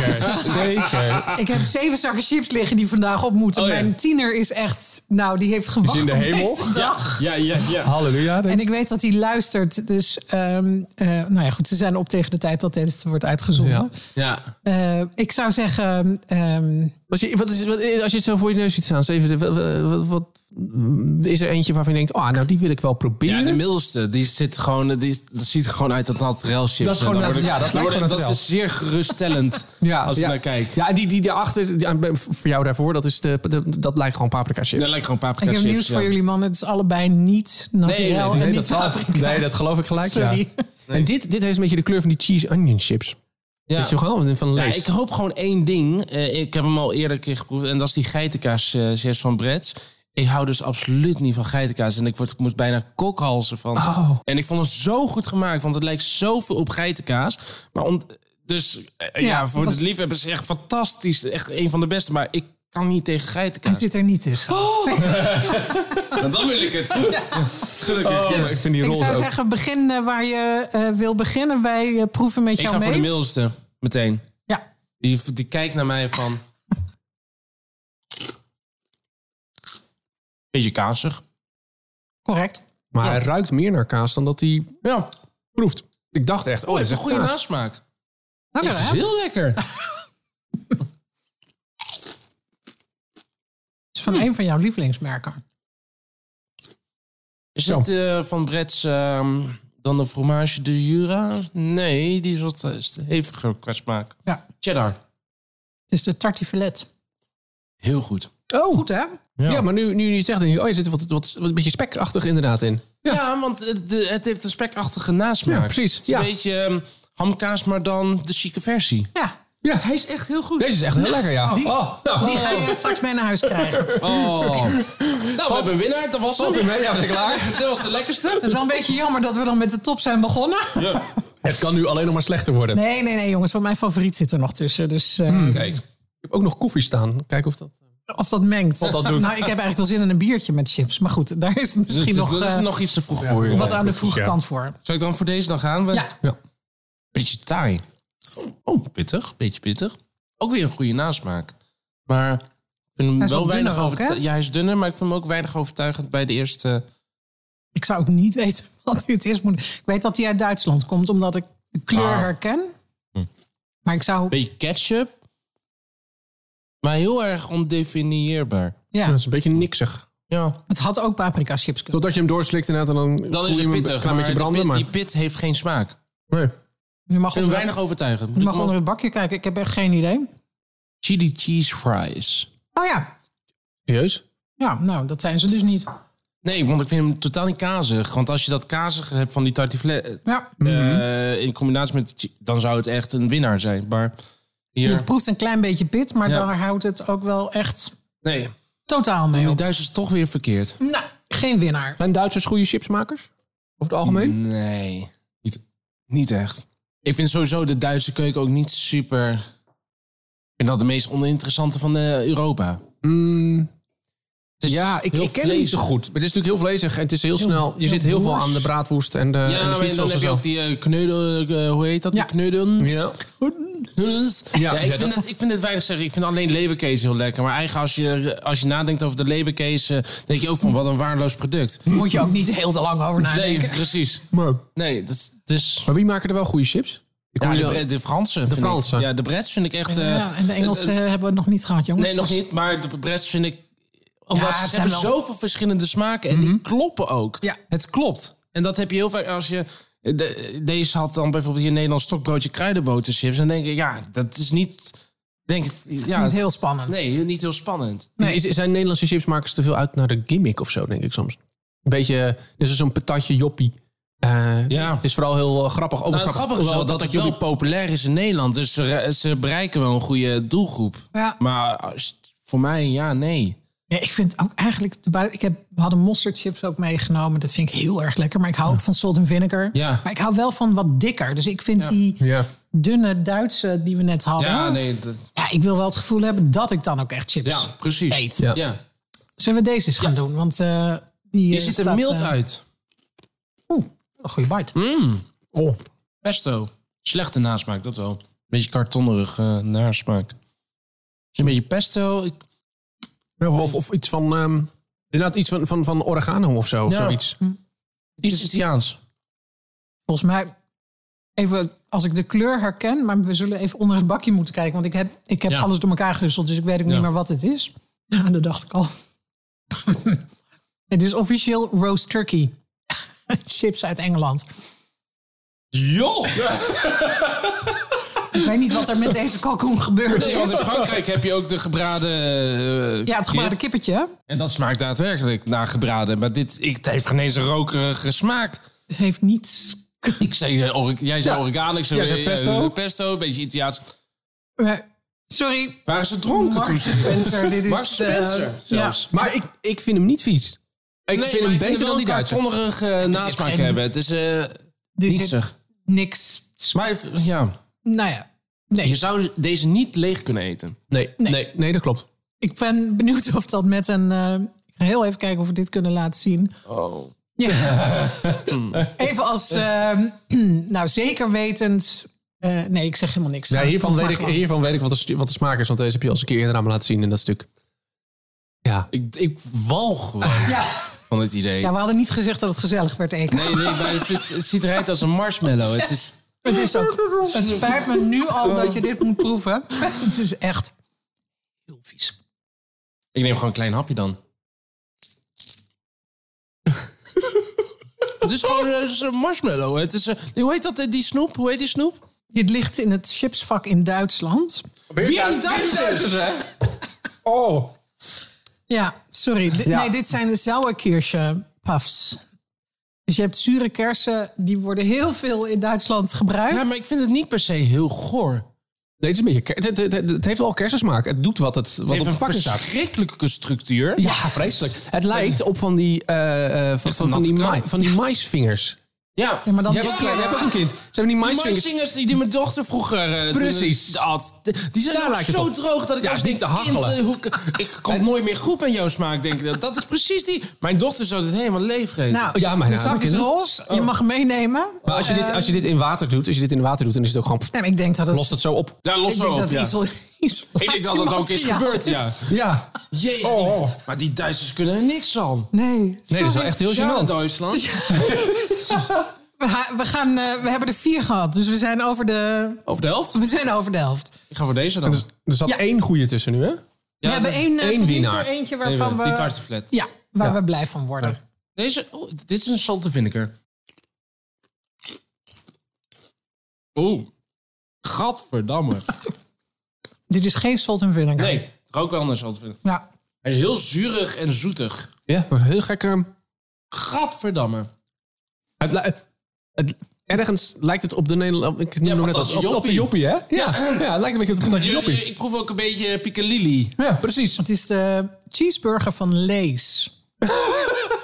S1: zeker.
S2: Ik heb zeven zakken chips liggen die vandaag op moeten.
S3: Oh, ja.
S2: Mijn tiener is echt... Nou, die heeft gewacht
S1: in de
S2: op
S1: hemel?
S2: deze dag.
S3: Ja, ja, ja.
S1: Halleluja.
S2: En ik weet dat hij luistert. Dus, ehm, eh, nou ja, goed. Ze zijn op tegen de tijd dat dit wordt uitgezonden.
S1: Ja.
S3: Ja.
S2: Eh, ik zou zeggen... ehm,
S1: Als je, wat is, wat, eh, als je het zo voor je neus ziet staan, zeven, wat, wat, wat- is er eentje waarvan je denkt, ah, nou die wil ik wel
S3: Ja,
S1: proberen?
S3: de middelste, die, zit gewoon, eh, die dat ziet er gewoon uit dat naturel chips.
S1: Dat is gewoon
S3: En dan
S1: nat-
S3: word ik-
S1: ja, dat
S3: dan
S1: lijkt
S3: word ik-
S1: gewoon
S3: dat is zeer geruststellend als je
S1: ja.
S3: naar kijkt.
S1: Ja, en die, die daarachter, die- aan- voor jou daarvoor, dat, is de, de- dat lijkt gewoon paprika chips.
S3: Dat lijkt gewoon paprika
S2: ik heb
S3: chips.
S2: nieuws voor
S3: ja.
S2: jullie, man. Het is allebei niet natuurlijk.
S3: nee,
S1: nee,
S2: en
S1: dat
S2: niet
S1: zal-
S2: paprika.
S1: nee, dat geloof ik gelijk, ja.
S2: Sorry.
S1: En dit, dit heeft een beetje de kleur van die cheese onion chips.
S3: Ja.
S1: Weet je wel, van
S3: Ja,
S1: Lees.
S3: ik hoop gewoon één ding. Eh, ik heb hem al eerder een keer geproefd. En dat is die geitenkaas eh, chips van Bretts. Ik hou dus absoluut niet van geitenkaas. En ik, word, ik moest bijna kokhalzen van.
S1: Oh.
S3: En ik vond het zo goed gemaakt. Want het lijkt zoveel op geitenkaas. Maar om, dus eh, ja, voor
S2: dat
S3: de
S2: is-
S3: liefhebbers echt fantastisch. Echt een van de beste. Maar ik kan niet tegen
S2: Hij
S3: geitenkaas.
S2: zit er niet tussen.
S1: Oh,
S3: Nou, dan wil ik het. Gelukkig.
S1: maar ik vind die
S2: ik
S1: roze
S2: zou
S1: ook.
S2: zeggen, begin eh, waar je eh, wil beginnen bij eh, proeven met
S3: Ik
S2: jou
S3: ga voor de
S2: mee.
S3: middelste, meteen.
S2: ja,
S3: Die, die kijkt naar mij van... Beetje kazig.
S2: correct.
S1: Maar hij ruikt meer naar kaas dan dat hij
S3: Ja.
S1: proeft. Ik dacht echt, oh,
S3: Oh,
S1: dit
S3: heeft
S1: is
S3: een
S1: echt
S3: goede
S1: kaas.
S3: nasmaak.
S2: Lekker,
S3: Dit is
S2: hè?
S3: heel lekker.
S2: is
S1: Hmm.
S2: van een van jouw lievelingsmerken.
S3: Is
S1: Zo.
S3: het eh, van Bret's ehm, dan de fromage de Jura? Nee, die is wat eh, is heviger qua smaak.
S2: Ja.
S3: Cheddar.
S2: Het is de tartiflet.
S3: Heel goed.
S2: Oh. Goed, hè?
S1: Ja. maar nu, nu je het zegt, denk ik, oh, er zit wat, wat, wat een beetje spekachtig inderdaad in.
S3: Ja, want het, de- het heeft een spekachtige nasmaak.
S1: Ja, precies.
S3: Het is
S1: Ja.
S3: een beetje ehm, hamkaas, maar dan de chique versie.
S2: Ja.
S1: Ja,
S3: Hij is echt heel goed.
S1: deze is echt heel lekker, ja.
S2: Die-
S1: Oh, nou,
S2: Die ga je straks mee naar huis krijgen. Dat
S3: Oh. nou, we hebben een winnaar. Dat was
S1: Valt
S3: het.
S1: er mee? Ja, ben ik klaar?
S3: Dat was de lekkerste.
S2: is wel een beetje jammer dat we dan met de top zijn begonnen.
S1: Het kan nu alleen nog maar slechter worden.
S2: Nee, nee, nee, jongens. Want mijn favoriet zit er nog tussen. Dus eh,
S1: Kijk, ik heb ook nog koffie staan. Kijk of dat...
S2: of dat mengt.
S1: Wat dat doet.
S2: Nou, ik heb eigenlijk wel zin in een biertje met chips. Maar goed, daar is
S3: Dus
S2: misschien nog,
S3: dat is
S2: eh,
S3: nog iets te vroeg voor je.
S2: wat aan de
S1: goed,
S2: vroege
S1: ja.
S2: kant voor.
S3: Zou ik dan voor deze dan gaan?
S2: Ja.
S1: Ja.
S3: Beetje taai. Oh, pittig. Beetje pittig. Ook weer een goede nasmaak. Maar ik vind hem
S2: Hij is
S3: wel
S2: wat
S3: weinig
S2: dunner ook,
S3: overtu-
S2: hè?
S3: Ja, hij is dunner, maar ik vind hem ook weinig overtuigend bij de eerste.
S2: Ik zou ook niet weten wat dit is. Moet- Ik weet dat hij uit Duitsland komt, omdat ik de kleur
S3: Ah.
S2: herken. Maar ik zou...
S3: Beetje ketchup. Maar heel erg ondefinieerbaar.
S1: Ja,
S2: Ja,
S1: dat is een beetje niksig.
S3: Ja.
S2: het had ook paprika chips kunnen
S1: Totdat je hem doorslikt inderdaad en dan
S3: Dat
S1: voel je
S3: is het
S1: hem een
S3: pittig.
S1: klein
S3: maar
S1: beetje
S3: de
S1: branden.
S3: pit-
S1: Maar,
S3: Die pit heeft geen smaak. Ik
S1: nee.
S2: Je mag
S3: vind hem
S2: onder,
S3: weinig overtuigend.
S2: je
S3: Moet ik
S2: mag
S3: hem
S2: onder
S3: ook-
S2: het bakje kijken. Ik heb echt geen idee.
S3: Chili cheese fries.
S2: Oh ja.
S1: Serieus?
S2: Ja, nou, dat zijn ze dus niet.
S3: Nee, want ik vind hem totaal niet kazig. Want als je dat kazige hebt van die tartiflette...
S2: Ja.
S3: eh, in combinatie met... chi- dan zou het echt een winnaar zijn. Maar
S2: Je
S3: hier...
S2: proeft een klein beetje pit, maar
S3: Ja.
S2: dan houdt het ook wel echt
S3: Nee,
S2: totaal mee
S3: die
S2: op.
S3: Duitsers toch weer verkeerd.
S2: Nou, geen winnaar.
S1: Zijn Duitsers goede chipsmakers? Over het algemeen?
S3: Nee, niet, niet echt. Ik vind sowieso de Duitse keuken ook niet super... Ik vind dat de meest oninteressante van eh, Europa. Mm. Het is
S1: Ja, ik,
S3: heel
S1: ik ken het niet zo
S3: vlezig.
S1: goed. Maar het is natuurlijk heel vlezig en het is heel snel. Je
S2: heel
S1: zit heel veel
S2: woers.
S1: aan de braadwoest en de,
S3: Ja,
S1: en de
S3: maar
S1: sweet
S3: dan
S1: sauce
S3: heb
S1: en
S3: je
S1: zo.
S3: ook die eh, kneudel... eh, hoe heet dat?
S2: Ja.
S3: Die kneudel.
S1: Ja.
S3: Dus, Ja,
S1: ja,
S3: ik,
S1: dat-
S3: vind het, ik vind het weinig zeggen. Ik vind alleen leberkees heel lekker. Maar eigenlijk als je, als je nadenkt over de leberkees... eh, denk je ook van wat een waardeloos product.
S2: Moet je ook niet heel te lang over nadenken.
S3: Nee, precies.
S1: Maar,
S3: Nee, dat is... dat is-
S1: maar wie maken er wel goede chips? Ik
S3: ja,
S1: hoor
S3: de,
S1: je
S3: Bre-
S1: wel-
S3: de Fransen. vind ik.
S1: Fransen.
S3: Ja, de Brets vind ik echt... eh,
S2: ja, en de Engelsen hebben we het nog niet gehad, jongens.
S3: nee, nog niet. Maar de Brets vind ik...
S2: Ja,
S3: Omdat
S2: het
S3: ze
S2: zijn
S3: hebben
S2: wel-
S3: zoveel verschillende smaken. En die kloppen ook.
S2: Ja.
S3: Het klopt. En dat heb je heel vaak als je... de- deze had dan bijvoorbeeld hier in Nederland stokbroodje kruidenboterchips. Dan denk ik, ja, dat is niet... Denk ik,
S2: Het
S3: ja,
S2: is niet heel spannend.
S3: Nee, niet heel spannend.
S1: Is- is- zijn Nederlandse chipsmakers te veel uit naar de gimmick of zo, denk ik soms? Een beetje, dus zo'n patatje joppie. Eh,
S3: Ja.
S1: Het is vooral heel eh, grappig. Ook
S3: Nou, het grappige is wel dat het wel populair is in Nederland. Dus ze, re- ze bereiken wel een goede doelgroep.
S2: Ja.
S3: Maar als- voor mij, ja, nee.
S2: Ja, ik vind ook eigenlijk de buiten. Ik heb, we hadden mosterdchips ook meegenomen. Dat vind ik heel erg lekker. Maar ik hou ook van salt en vinegar.
S3: Ja.
S2: Maar ik hou wel van wat dikker. Dus ik vind die
S1: Ja.
S2: dunne Duitse die we net hadden.
S3: Ja, nee. dat-
S2: Ja, ik wil wel het gevoel hebben dat ik dan ook echt chips
S3: ja, precies.
S2: eet.
S1: Ja.
S3: Ja.
S2: Zullen we deze eens gaan doen? Want eh, die
S3: Je
S2: eh,
S3: ziet er
S2: staat,
S3: mild
S2: eh,
S3: uit.
S2: Oeh, een goede bite.
S1: Oh.
S3: Pesto. Slechte nasmaak, dat wel. Beetje kartonnerig eh, nasmaak. Dus een beetje pesto. Ik,
S1: Of, of iets van... ehm, inderdaad iets van, van, van oregano of zo. Of
S3: Ja. Hm.
S1: zoiets.
S3: iets Italiaans.
S2: Volgens mij, even als ik de kleur herken, maar we zullen even onder het bakje moeten kijken. Want ik heb, ik heb
S3: Ja.
S2: alles door elkaar gehusteld, dus ik weet ook
S3: Ja.
S2: niet meer wat het is. Ja, dat dacht ik al. het is officieel roast turkey. Chips uit Engeland.
S3: Joh!
S2: Ik weet niet wat er met deze kalkoen gebeurd
S3: Nee, want in
S2: is.
S3: Frankrijk heb je ook de gebraden... eh,
S2: Ja, het
S3: kip.
S2: gemaakte kippetje. hè?
S3: En dat smaakt daadwerkelijk naar gebraden. Maar dit ik, het heeft geen eens een rokerige smaak.
S2: Het heeft niets...
S3: Ik zei, eh, ore- jij zei
S1: Ja.
S3: oregano, ik
S1: Jij zei
S3: eh,
S1: pesto.
S3: eh, pesto, een beetje Italiaans.
S2: Eh, Sorry,
S3: Waren ze dronken toen
S2: Mark
S3: ze...
S2: Spencer. Dit is
S3: Mark
S2: eh,
S3: Spencer zelfs.
S1: Maar ik, ik vind hem niet vies. Ik
S3: Nee,
S1: vind
S3: maar
S1: hem
S3: ik
S1: beter
S3: wel
S1: dan die
S3: een
S1: Duitse.
S3: kartonnerige nasmaak
S2: geen-
S3: hebben. Het is eh
S2: dit is
S3: nietzig.
S2: niks.
S3: Maar ja,
S2: Nou ja,
S3: je
S2: nee.
S3: zou deze niet leeg kunnen eten.
S1: Nee, nee. nee, dat klopt.
S2: Ik ben benieuwd of dat met een... eh, ik ga heel even kijken of we dit kunnen laten zien.
S3: Oh.
S2: Ja. Even als, ehm, nou zeker wetend. eh, nee, ik zeg helemaal niks.
S1: Ja, hiervan,
S2: Of
S1: weet
S2: maar
S1: ik,
S2: gewoon.
S1: hiervan weet ik wat de, stu- wat de smaak is. Want deze heb je al eens een keer eerder aan me laten zien in dat stuk. Ja.
S3: Ik, ik wal gewoon.
S2: Ja.
S3: van het idee.
S2: Ja, we hadden niet gezegd dat het gezellig werd, Eko.
S3: Nee, nee, maar het, is, het ziet eruit als een marshmallow. Het is,
S2: Het is ook. Het spijt me nu al dat je dit moet proeven. Het is echt heel vies.
S3: ik neem gewoon een klein hapje dan. het is gewoon eh, het is een marshmallow. Het is, eh, hoe heet dat, eh, die snoep? Hoe heet die snoep?
S2: Dit ligt in het chipsvak in Duitsland.
S3: Weer die Duitsers!
S1: Oh.
S2: Ja, sorry. Di-
S1: Ja.
S2: Nee, dit zijn de sauerkirsche puffs. Dus je hebt zure kersen, die worden heel veel in Duitsland gebruikt.
S3: Ja, maar ik vind het niet per se heel goor. Het
S1: Dit is een beetje, ker- het, het, het- het heeft wel kersensmaak. Het doet wat, het, wat
S3: heeft
S1: op de
S3: een
S1: pakken staat.
S3: verschrikkelijke structuur.
S1: Ja, vreselijk. Het lijkt op van die, eh, eh, van, van, van die,
S3: natte
S1: ma-
S3: krant.
S1: van die maisvingers.
S3: Ja,
S2: Ja, maar dan-
S1: Jij hebt ook, klein- jij hebt ook een kind. Ze hebben die
S3: Die
S1: maisvingers.
S3: maisvingers die, die mijn dochter vroeger eh,
S1: Precies.
S3: toen at. Die zijn
S1: Daar
S3: nog
S1: lijkt het
S3: zo
S1: op.
S3: droog dat ik
S1: Ja,
S3: als
S1: is niet
S3: denk,
S1: te
S3: kind,
S1: hachelen.
S3: eh, hoe kan- ik kom nooit meer goed aan jouw smaak, denk ik. Dat, dat is precies die... Mijn dochter zou dit helemaal leeg geven.
S2: nou,
S1: Ja, maar
S2: de
S1: ja,
S2: zak
S1: dat
S2: is
S1: kan.
S2: roze. Je mag hem meenemen. Eh,
S1: Maar als je, dit, als je dit in water doet, als je dit in water doet, dan is het ook gewoon... pff,
S2: Nee, maar ik denk dat het...
S1: Lost het zo op.
S3: Daar los
S2: ik
S3: zo
S2: denk
S3: op,
S2: dat
S3: ja.
S2: isol-
S3: Ik denk dat dat ook is
S2: isolatiemateriaal
S3: gebeurd, ja.
S2: is.
S1: Ja.
S3: Jezus,
S1: Oh, oh.
S3: maar die Duitsers kunnen er niks aan.
S2: Nee,
S1: Nee, dat is wel
S2: sorry.
S1: echt heel
S3: Ja,
S1: gênant.
S3: Duitsland.
S2: We, ha- we gaan, eh, we hebben er vier gehad, dus we zijn over de,
S3: Over de helft.
S2: we zijn over de helft.
S3: Ik ga voor deze dan. dus
S1: Er zat één goede tussen nu, hè?
S2: we hebben
S1: één
S2: één, eh, tot nu toe
S1: winnaar.
S2: Eentje
S3: Nee,
S2: waarvan we,
S3: Die tarteflat.
S2: ja, waar
S1: Ja.
S2: we blij van worden.
S3: Deze, oh, dit is een salte vinegar. Oeh. Gadverdamme.
S2: Dit is geen salt en vinegar.
S3: Nee, het rookt wel naar salte vinegar.
S2: Ja.
S3: Hij is heel zurig en zoetig.
S1: Ja, maar heel gekker.
S3: Gadverdamme.
S1: Het, li- het- ergens lijkt het op de Nederland... Ik noem
S3: Ja,
S1: hem net als
S3: patatje
S1: op, op de
S3: joppie.
S1: joppie, hè? Ja, ja. het lijkt een beetje op de patatje
S3: Ik,
S1: joppie.
S3: Eh, ik proef ook een beetje piccalilli.
S1: Ja, precies.
S2: Het is de cheeseburger van Lees.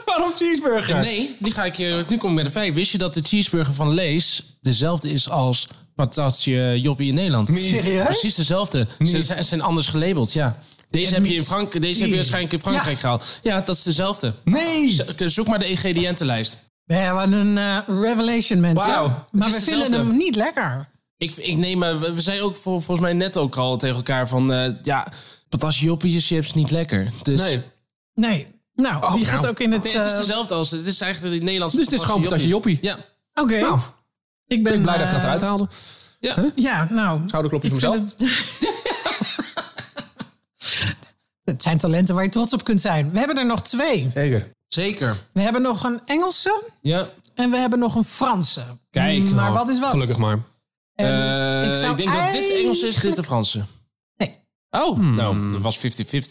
S1: Waarom cheeseburger?
S3: Nee, die ga ik je... Nu kom ik met de vijf. Wist je dat de cheeseburger van Lees dezelfde is als patatje Joppie in Nederland?
S2: Serieus?
S3: Precies dezelfde. Ze zijn, zijn anders gelabeld, ja. Deze, heb je, in
S2: niet.
S3: Frank, deze heb je waarschijnlijk in Frankrijk
S2: Ja.
S3: gehaald. Ja, dat is dezelfde.
S1: Nee!
S3: Zoek maar de ingrediëntenlijst.
S2: We hebben een eh, revelation, mensen.
S1: Wauw,
S2: Maar
S3: het
S2: we
S3: is
S2: vinden
S3: hetzelfde.
S2: hem niet lekker.
S3: Ik, ik neem, eh, we we zijn ook vol- volgens mij net ook al tegen elkaar van... eh, ja, patatje Joppie chips niet lekker. Dus,
S1: Nee.
S2: Nee. Nou, die
S1: nou.
S2: gaat ook in het...
S3: Nee, het is
S2: eh,
S3: dezelfde als... Het is eigenlijk het Nederlandse
S1: Dus het is gewoon patatje joppie.
S3: Ja.
S2: Oké.
S1: Nou,
S2: ik ben
S1: ik ben blij dat ik dat
S2: eh,
S1: eruit haalde.
S3: Ja.
S2: Ja, nou.
S1: Schouderklopje
S2: ik
S1: voor
S2: vind Het... het zijn talenten waar je trots op kunt zijn. We hebben er nog twee.
S1: Zeker.
S3: Zeker.
S2: We hebben nog een Engelse
S3: Ja.
S2: en we hebben nog een Franse. Mm,
S3: Kijk nou.
S2: Maar wat is wat?
S1: Gelukkig Mm, maar.
S2: En
S3: Eh, ik,
S2: zou
S3: denk dat dit Engels is, dit de Franse.
S2: Nee.
S3: Oh, nou, dat was 50-50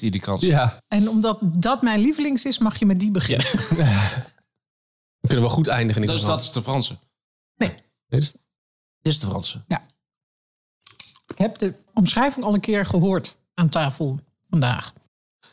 S3: die kans.
S1: Ja.
S2: En omdat dat mijn lievelings is, mag je met die beginnen.
S1: We kunnen wel goed eindigen in
S3: Dus
S1: ieder
S3: dat
S1: geval.
S3: is de Franse.
S2: Nee.
S1: Dit is-
S3: Dit is de Franse.
S2: Ja. Ik heb de omschrijving al een keer gehoord aan tafel vandaag.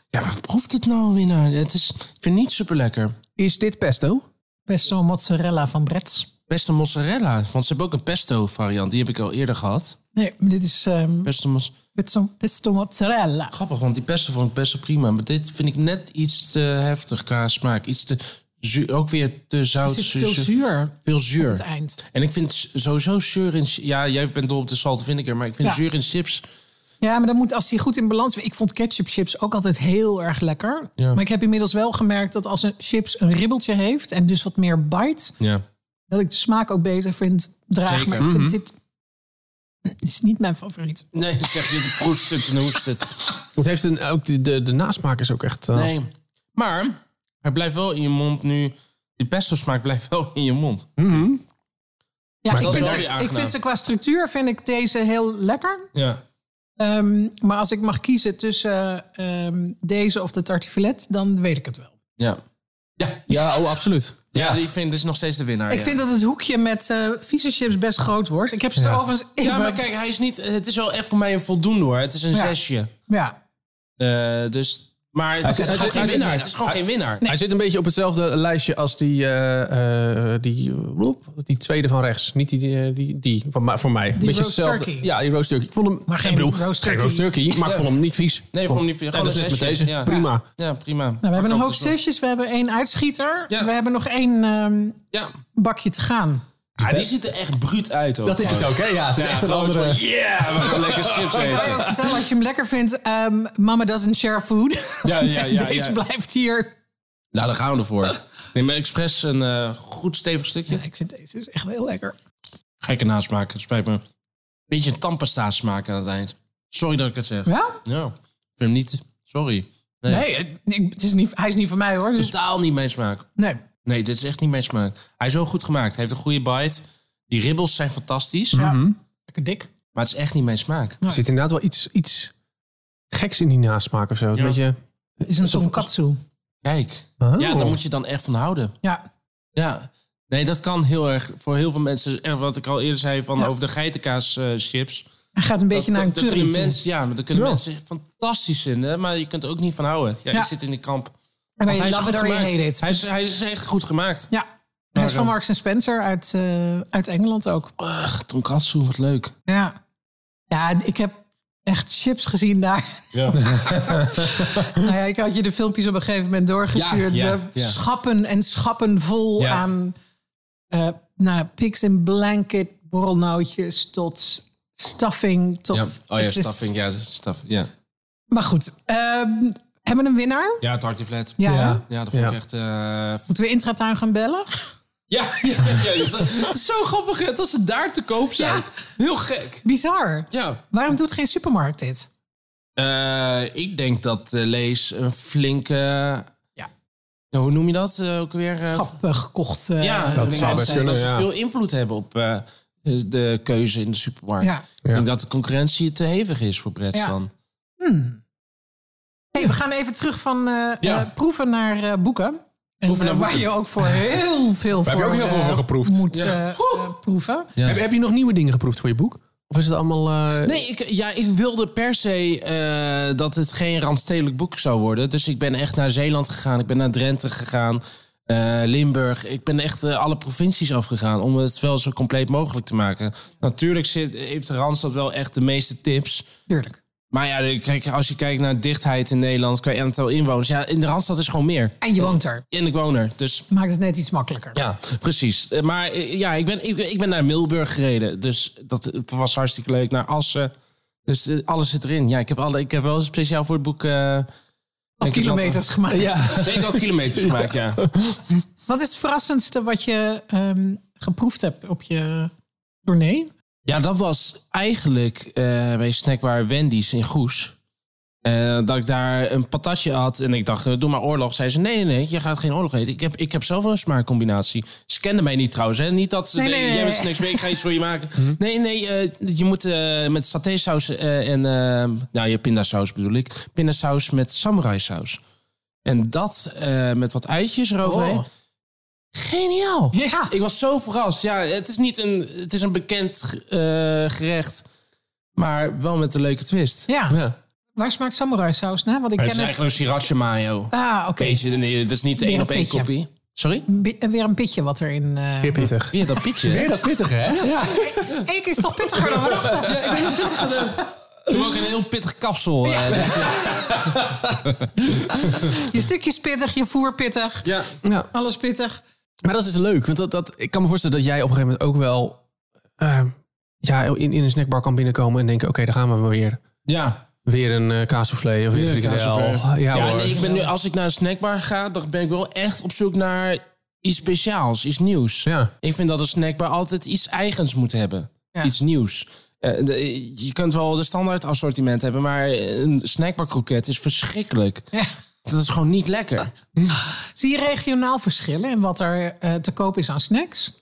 S3: Ja, wat proeft het nou weer naar? Het is, ik vind het niet super lekker.
S1: Is dit pesto?
S2: Pesto mozzarella van Bretts.
S3: Pesto mozzarella, want ze hebben ook een pesto variant. Die heb ik al eerder gehad.
S2: Nee, dit is ehm
S3: Pesto mos-
S2: pesto, pesto mozzarella.
S3: Grappig, want die pesto vond ik best wel prima. Maar dit vind ik net iets te heftig qua smaak. Iets te zuur. Ook weer te
S2: Er
S3: zout.
S2: zit veel
S3: zu-
S2: zuur aan
S3: Veel
S2: het
S3: zuur.
S2: eind.
S3: En ik vind sowieso zuur in... Ja, jij bent dol op de salte vinegar, maar ik vind
S2: Ja.
S3: zuur in chips...
S2: Ja, maar dan moet, als die goed in balans is. Ik vond ketchup chips ook altijd heel erg lekker.
S3: Ja.
S2: Maar ik heb inmiddels wel gemerkt dat als een chips een ribbeltje heeft... en dus wat meer bite,
S3: Ja.
S2: dat ik de smaak ook beter vind draag.
S3: Zeker. Mhm.
S2: Maar ik vind dit is niet mijn favoriet.
S3: Nee, dan zeg je, het proest het en hoest het.
S1: Het heeft een, ook de, de, de nasmaak is ook echt... eh,
S3: Nee. Maar hij blijft wel in je mond nu. Die pesto smaak blijft wel in je mond.
S2: Ja,
S3: Maar
S2: ik,
S3: dat
S2: vind
S3: is wel
S2: ze,
S3: weer
S2: ik
S3: aangenaam.
S2: vind ze qua structuur vind ik deze heel lekker.
S3: Ja.
S2: Ehm, maar als ik mag kiezen tussen ehm, deze of de tartiflet, dan weet ik het wel.
S3: Ja.
S1: Ja, oh, absoluut.
S3: Dus ik vind dit is nog steeds de winnaar.
S2: Ik
S3: ja.
S2: vind dat het hoekje met eh vieze chips best groot wordt. Ik heb ze er overigens even...
S3: Ja, maar kijk, hij is niet, het is wel echt voor mij een voldoende hoor. Het is een
S2: Ja.
S3: zesje.
S2: Ja. Nou,
S3: Eh, dus, maar het
S1: zit-
S3: is,
S1: hij
S3: gewoon
S1: zit-
S3: geen
S1: hij zit
S3: winnaar.
S1: net.
S3: Het is gewoon geen winnaar.
S1: Hij zit een beetje op hetzelfde lijstje als die, eh, eh, die, bloep, die tweede van rechts. Niet die, die, eh, die, die van, mij- voor mij. Een beetje
S2: roast
S1: hetzelfde.
S2: turkey.
S1: Ja, die roast turkey. Ik vond hem,
S2: Maar geen
S1: ik bedoel,
S2: roast
S1: geen
S2: turkey.
S1: roast turkey, maar ik vond hem niet vies.
S3: Nee, voor hem niet. Gewoon
S1: dat dus is
S3: een
S1: net met
S3: zesje.
S1: deze.
S3: Ja.
S1: Prima.
S3: Ja, prima.
S2: Nou, we hebben een hoop
S3: Dus wel-
S2: zesjes, we hebben één uitschieter.
S3: Ja.
S2: We hebben nog één ehm,
S3: Ja.
S2: bakje te gaan.
S3: Ah, die ziet er echt bruut uit ook.
S1: Dat is het ook, hè? Ja, het is
S3: Ja,
S1: echt een
S3: gewoon
S1: andere...
S3: van, Yeah, we gaan lekker chips
S2: Ik kan je ook
S3: eten.
S2: vertellen, als je hem lekker vindt, ehm, mama doesn't share food.
S3: Ja, ja, ja,
S2: Deze
S3: ja.
S2: blijft hier
S3: Nou, daar gaan we ervoor. Neem maar expres een eh, goed stevig stukje.
S2: Ja, ik vind deze dus echt heel lekker.
S3: Ga ik ernaast maken, spijt me. Beetje een tandpasta smaak aan het eind. Sorry dat ik het zeg.
S2: Ja?
S3: Ja, ik vind hem niet. Sorry. Nee.
S2: Nee, het- ik- het is niet, hij is niet van mij hoor. Dus
S3: Totaal niet mijn smaak.
S2: nee.
S3: Nee, dit is echt niet mijn smaak. Hij is wel goed gemaakt. Hij heeft een goede bite. Die ribbels zijn fantastisch.
S2: Lekker dik.
S3: Maar het is echt niet mijn smaak.
S1: Er zit inderdaad wel iets, iets geks in die nasmaak of zo.
S3: Ja.
S1: Weet je?
S2: Het is een tonkatsu.
S3: Kijk.
S1: Oh.
S3: Ja, daar moet je dan echt van houden.
S2: Ja.
S3: Ja. Nee, dat kan heel erg. Voor heel veel mensen, eh, wat ik al eerder zei van over de geitenkaas eh, chips.
S2: Hij gaat een beetje naar een
S3: daar kunnen
S2: curry toe.
S3: mensen, Ja, maar daar kunnen
S1: Ja.
S3: mensen fantastisch vinden. Maar je kunt er ook niet van houden. Ja,
S2: Ja.
S3: ik zit in die kamp.
S2: En
S3: Want
S2: bij
S3: is
S2: Love
S3: goed
S2: It or You
S3: gemaakt.
S2: Hate It.
S3: Hij is, hij is echt goed gemaakt.
S2: Ja. Hij is van
S3: Waarom?
S2: Marks en Spencer uit, eh, uit Engeland ook.
S3: Ach, tonkatsu, wat leuk.
S2: Ja. Ja, ik heb echt chips gezien daar.
S3: Ja. Oh
S2: nou ja, ik had je de filmpjes op een gegeven moment doorgestuurd.
S3: Ja, ja,
S2: de
S3: ja.
S2: schappen en schappen vol
S3: Ja.
S2: aan eh nou, pigs in blanket borrelnootjes tot stuffing. Tot,
S3: ja. Oh ja,
S2: het is-
S3: stuffing. Ja, stuff, ja.
S2: Maar goed, ehm, hebben we een winnaar?
S3: ja, het hartie flat.
S2: Ja. hè?
S1: Ja.
S3: Ja, dat vond
S1: Ja.
S3: ik echt... eh,
S2: Moeten we Intratuin gaan bellen?
S3: Ja, ja, ja, ja. Dat- het is zo grappig hè, dat ze daar te koop zijn.
S2: Ja.
S3: Heel gek.
S2: Bizar.
S3: Ja.
S2: Waarom doet geen supermarkt dit?
S3: Eh, ik denk dat eh, Lees een flinke...
S2: Ja.
S3: ja, hoe noem je dat eh, ook weer? Eh,
S2: Schap eh, gekocht. eh,
S3: ja,
S1: Dat
S3: ik denk
S1: zou
S3: dat
S1: best
S3: ze-
S1: kunnen,
S3: dat ze
S1: ja.
S3: veel invloed hebben op eh, de keuze in de supermarkt.
S2: Ja.
S3: Ik denk dat de concurrentie te hevig is voor Brett
S2: Ja.
S3: dan.
S2: Hey, we gaan even terug van eh,
S3: Ja.
S2: eh, proeven naar eh, boeken. En,
S3: Proeven naar
S2: eh, waar
S3: boeken.
S2: je ook voor heel veel
S1: Daar
S2: voor
S1: heb je ook heel veel
S2: eh,
S1: van geproefd.
S2: moet
S1: Ja.
S2: eh, eh, proeven.
S3: Ja.
S1: Heb, heb je nog nieuwe dingen geproefd voor je boek? Of is het allemaal... eh,
S3: Nee, ik, ja, ik wilde per se eh, dat het geen randstedelijk boek zou worden. Dus ik ben echt naar Zeeland gegaan. Ik ben naar Drenthe gegaan. eh, Limburg. Ik ben echt eh, alle provincies afgegaan om het wel zo compleet mogelijk te maken. Natuurlijk zit, heeft de Randstad wel echt de meeste tips.
S2: Tuurlijk.
S3: Maar ja, de- kijk, als je kijkt naar dichtheid in Nederland qua aantal inwoners. Ja, in de Randstad is gewoon meer.
S2: En je woont er.
S3: En ik woon er. Dus
S2: Maakt het net iets makkelijker.
S3: ja, precies. Eh, Maar eh, ja, ik ben, ik, ik ben naar Middelburg gereden. Dus dat het was hartstikke leuk. Naar Assen. Dus eh, alles zit erin. Ja, ik heb, alle, ik heb wel speciaal voor het boek... eh,
S2: Of
S3: denk ik
S2: kilometers gemaakt.
S3: wat- Zeker wat kilometers gemaakt, ja.
S2: Wat is het verrassendste wat je ehm, geproefd hebt op je tournee?
S3: Ja, dat was eigenlijk eh, bij snackbar Wendy's in Goes. Eh, dat ik daar een patatje had en ik dacht, eh, doe maar oorlog. Zei ze, nee, nee, nee, je gaat geen oorlog eten. Ik heb, ik heb zelf wel een smaakcombinatie. Ze kenden mij niet trouwens, hè. Niet dat ze
S2: Nee,
S3: denken,
S2: nee, nee, Mhm.
S3: jij bent
S2: nee.
S3: snacks, mee, ik ga iets voor je maken. Nee, nee, eh, je moet eh, met satésaus eh, en... eh, nou, je pindasaus bedoel ik. Pindasaus met samurai saus. En dat eh, met wat uitjes eroverheen.
S2: Oh.
S3: Geniaal!
S2: Ja.
S3: Oh. Ik was zo verrast. Ja, het is niet een, het is een bekend eh, gerecht, maar wel met een leuke twist.
S2: Ja.
S3: ja.
S2: Waar smaakt samurai saus naar? Want ik ken
S3: Het is
S2: het.
S3: eigenlijk een sriracha mayo.
S2: Ah, oké.
S3: Beetje, eh, nee, het is niet de
S2: Weer
S3: één
S2: een
S3: op één
S2: pitje.
S3: kopie. Sorry?
S2: Bi- en Weer een pitje wat erin. eh,
S1: Weer pittig.
S3: Weer dat pitje. hè?
S1: Weer dat pittige, hè?
S2: Eén keer is toch pittiger dan we dachten.
S3: Ja, ik ben heel pittig. Doe ook een heel pittig kapsel. eh, dus, eh,
S2: Je stukjes pittig, je voer pittig,
S3: ja.
S1: Ja.
S2: alles pittig.
S1: Maar dat is leuk, want dat, dat, ik kan me voorstellen dat jij op een gegeven moment ook wel eh, ja, in, in een snackbar kan binnenkomen en denken, oké, daar gaan we maar weer.
S3: ja.
S1: Weer een eh kaassoufflé of weer
S3: Weer
S1: een
S3: een
S1: frikandel. Ja,
S3: kaassoufflé. Ja,
S1: hoor.
S3: nee, ik ben nu, als ik naar een snackbar ga, dan ben ik wel echt op zoek naar iets speciaals, iets nieuws.
S1: Ja.
S3: Ik vind dat een snackbar altijd iets eigens moet hebben.
S2: Ja.
S3: Iets nieuws. Eh, de- je kunt wel de standaard assortiment hebben, maar een snackbar kroket is verschrikkelijk.
S2: Ja. Ah.
S3: Dat is gewoon niet lekker.
S2: Zie je regionaal verschillen in wat er eh, te koop is aan snacks?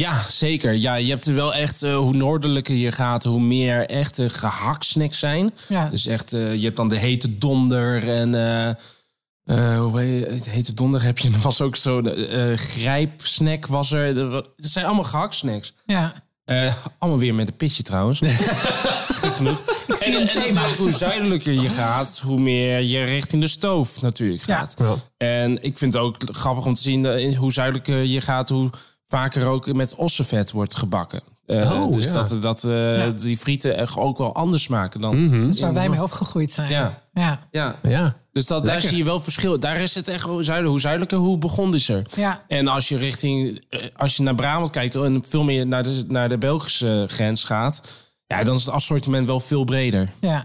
S3: Ja, zeker. Ja, je hebt er wel echt, eh, hoe noordelijker je gaat, hoe meer echte gehaksnacks zijn.
S2: Ja.
S3: Dus echt, eh, je hebt dan de hete donder en... eh, eh, hoe heet- hete donder heb je, er was ook zo'n eh grijpsnack was er. Er wa- Het zijn allemaal gehaksnacks.
S2: Ja.
S3: Eh, allemaal weer met een pitje trouwens. Gek genoeg. Ik
S2: zie een thema.
S3: hoe zuidelijker je gaat, hoe meer je richting de stoof natuurlijk
S2: Ja.
S3: gaat.
S1: Ja.
S3: En ik vind het ook grappig om te zien eh, in hoe zuidelijker je gaat, hoe vaker ook met ossenvet wordt gebakken. Eh,
S1: Oh,
S3: dus
S1: ja.
S3: dat, dat eh,
S2: Ja.
S3: die frieten echt ook wel anders smaken dan.
S1: Mhm.
S2: Dat is waar wij mee opgegroeid zijn.
S3: Ja.
S2: Ja.
S3: Ja.
S1: Ja.
S3: Dus dat, daar zie je wel verschil. Daar is het echt wel zuidelijk. Hoe zuidelijker, hoe begonnischer.
S2: Ja.
S3: En als je richting, eh, als je naar Brabant kijkt en veel meer naar de, eh, naar de Belgische grens gaat, ja, dan is het assortiment wel veel breder.
S2: Ja.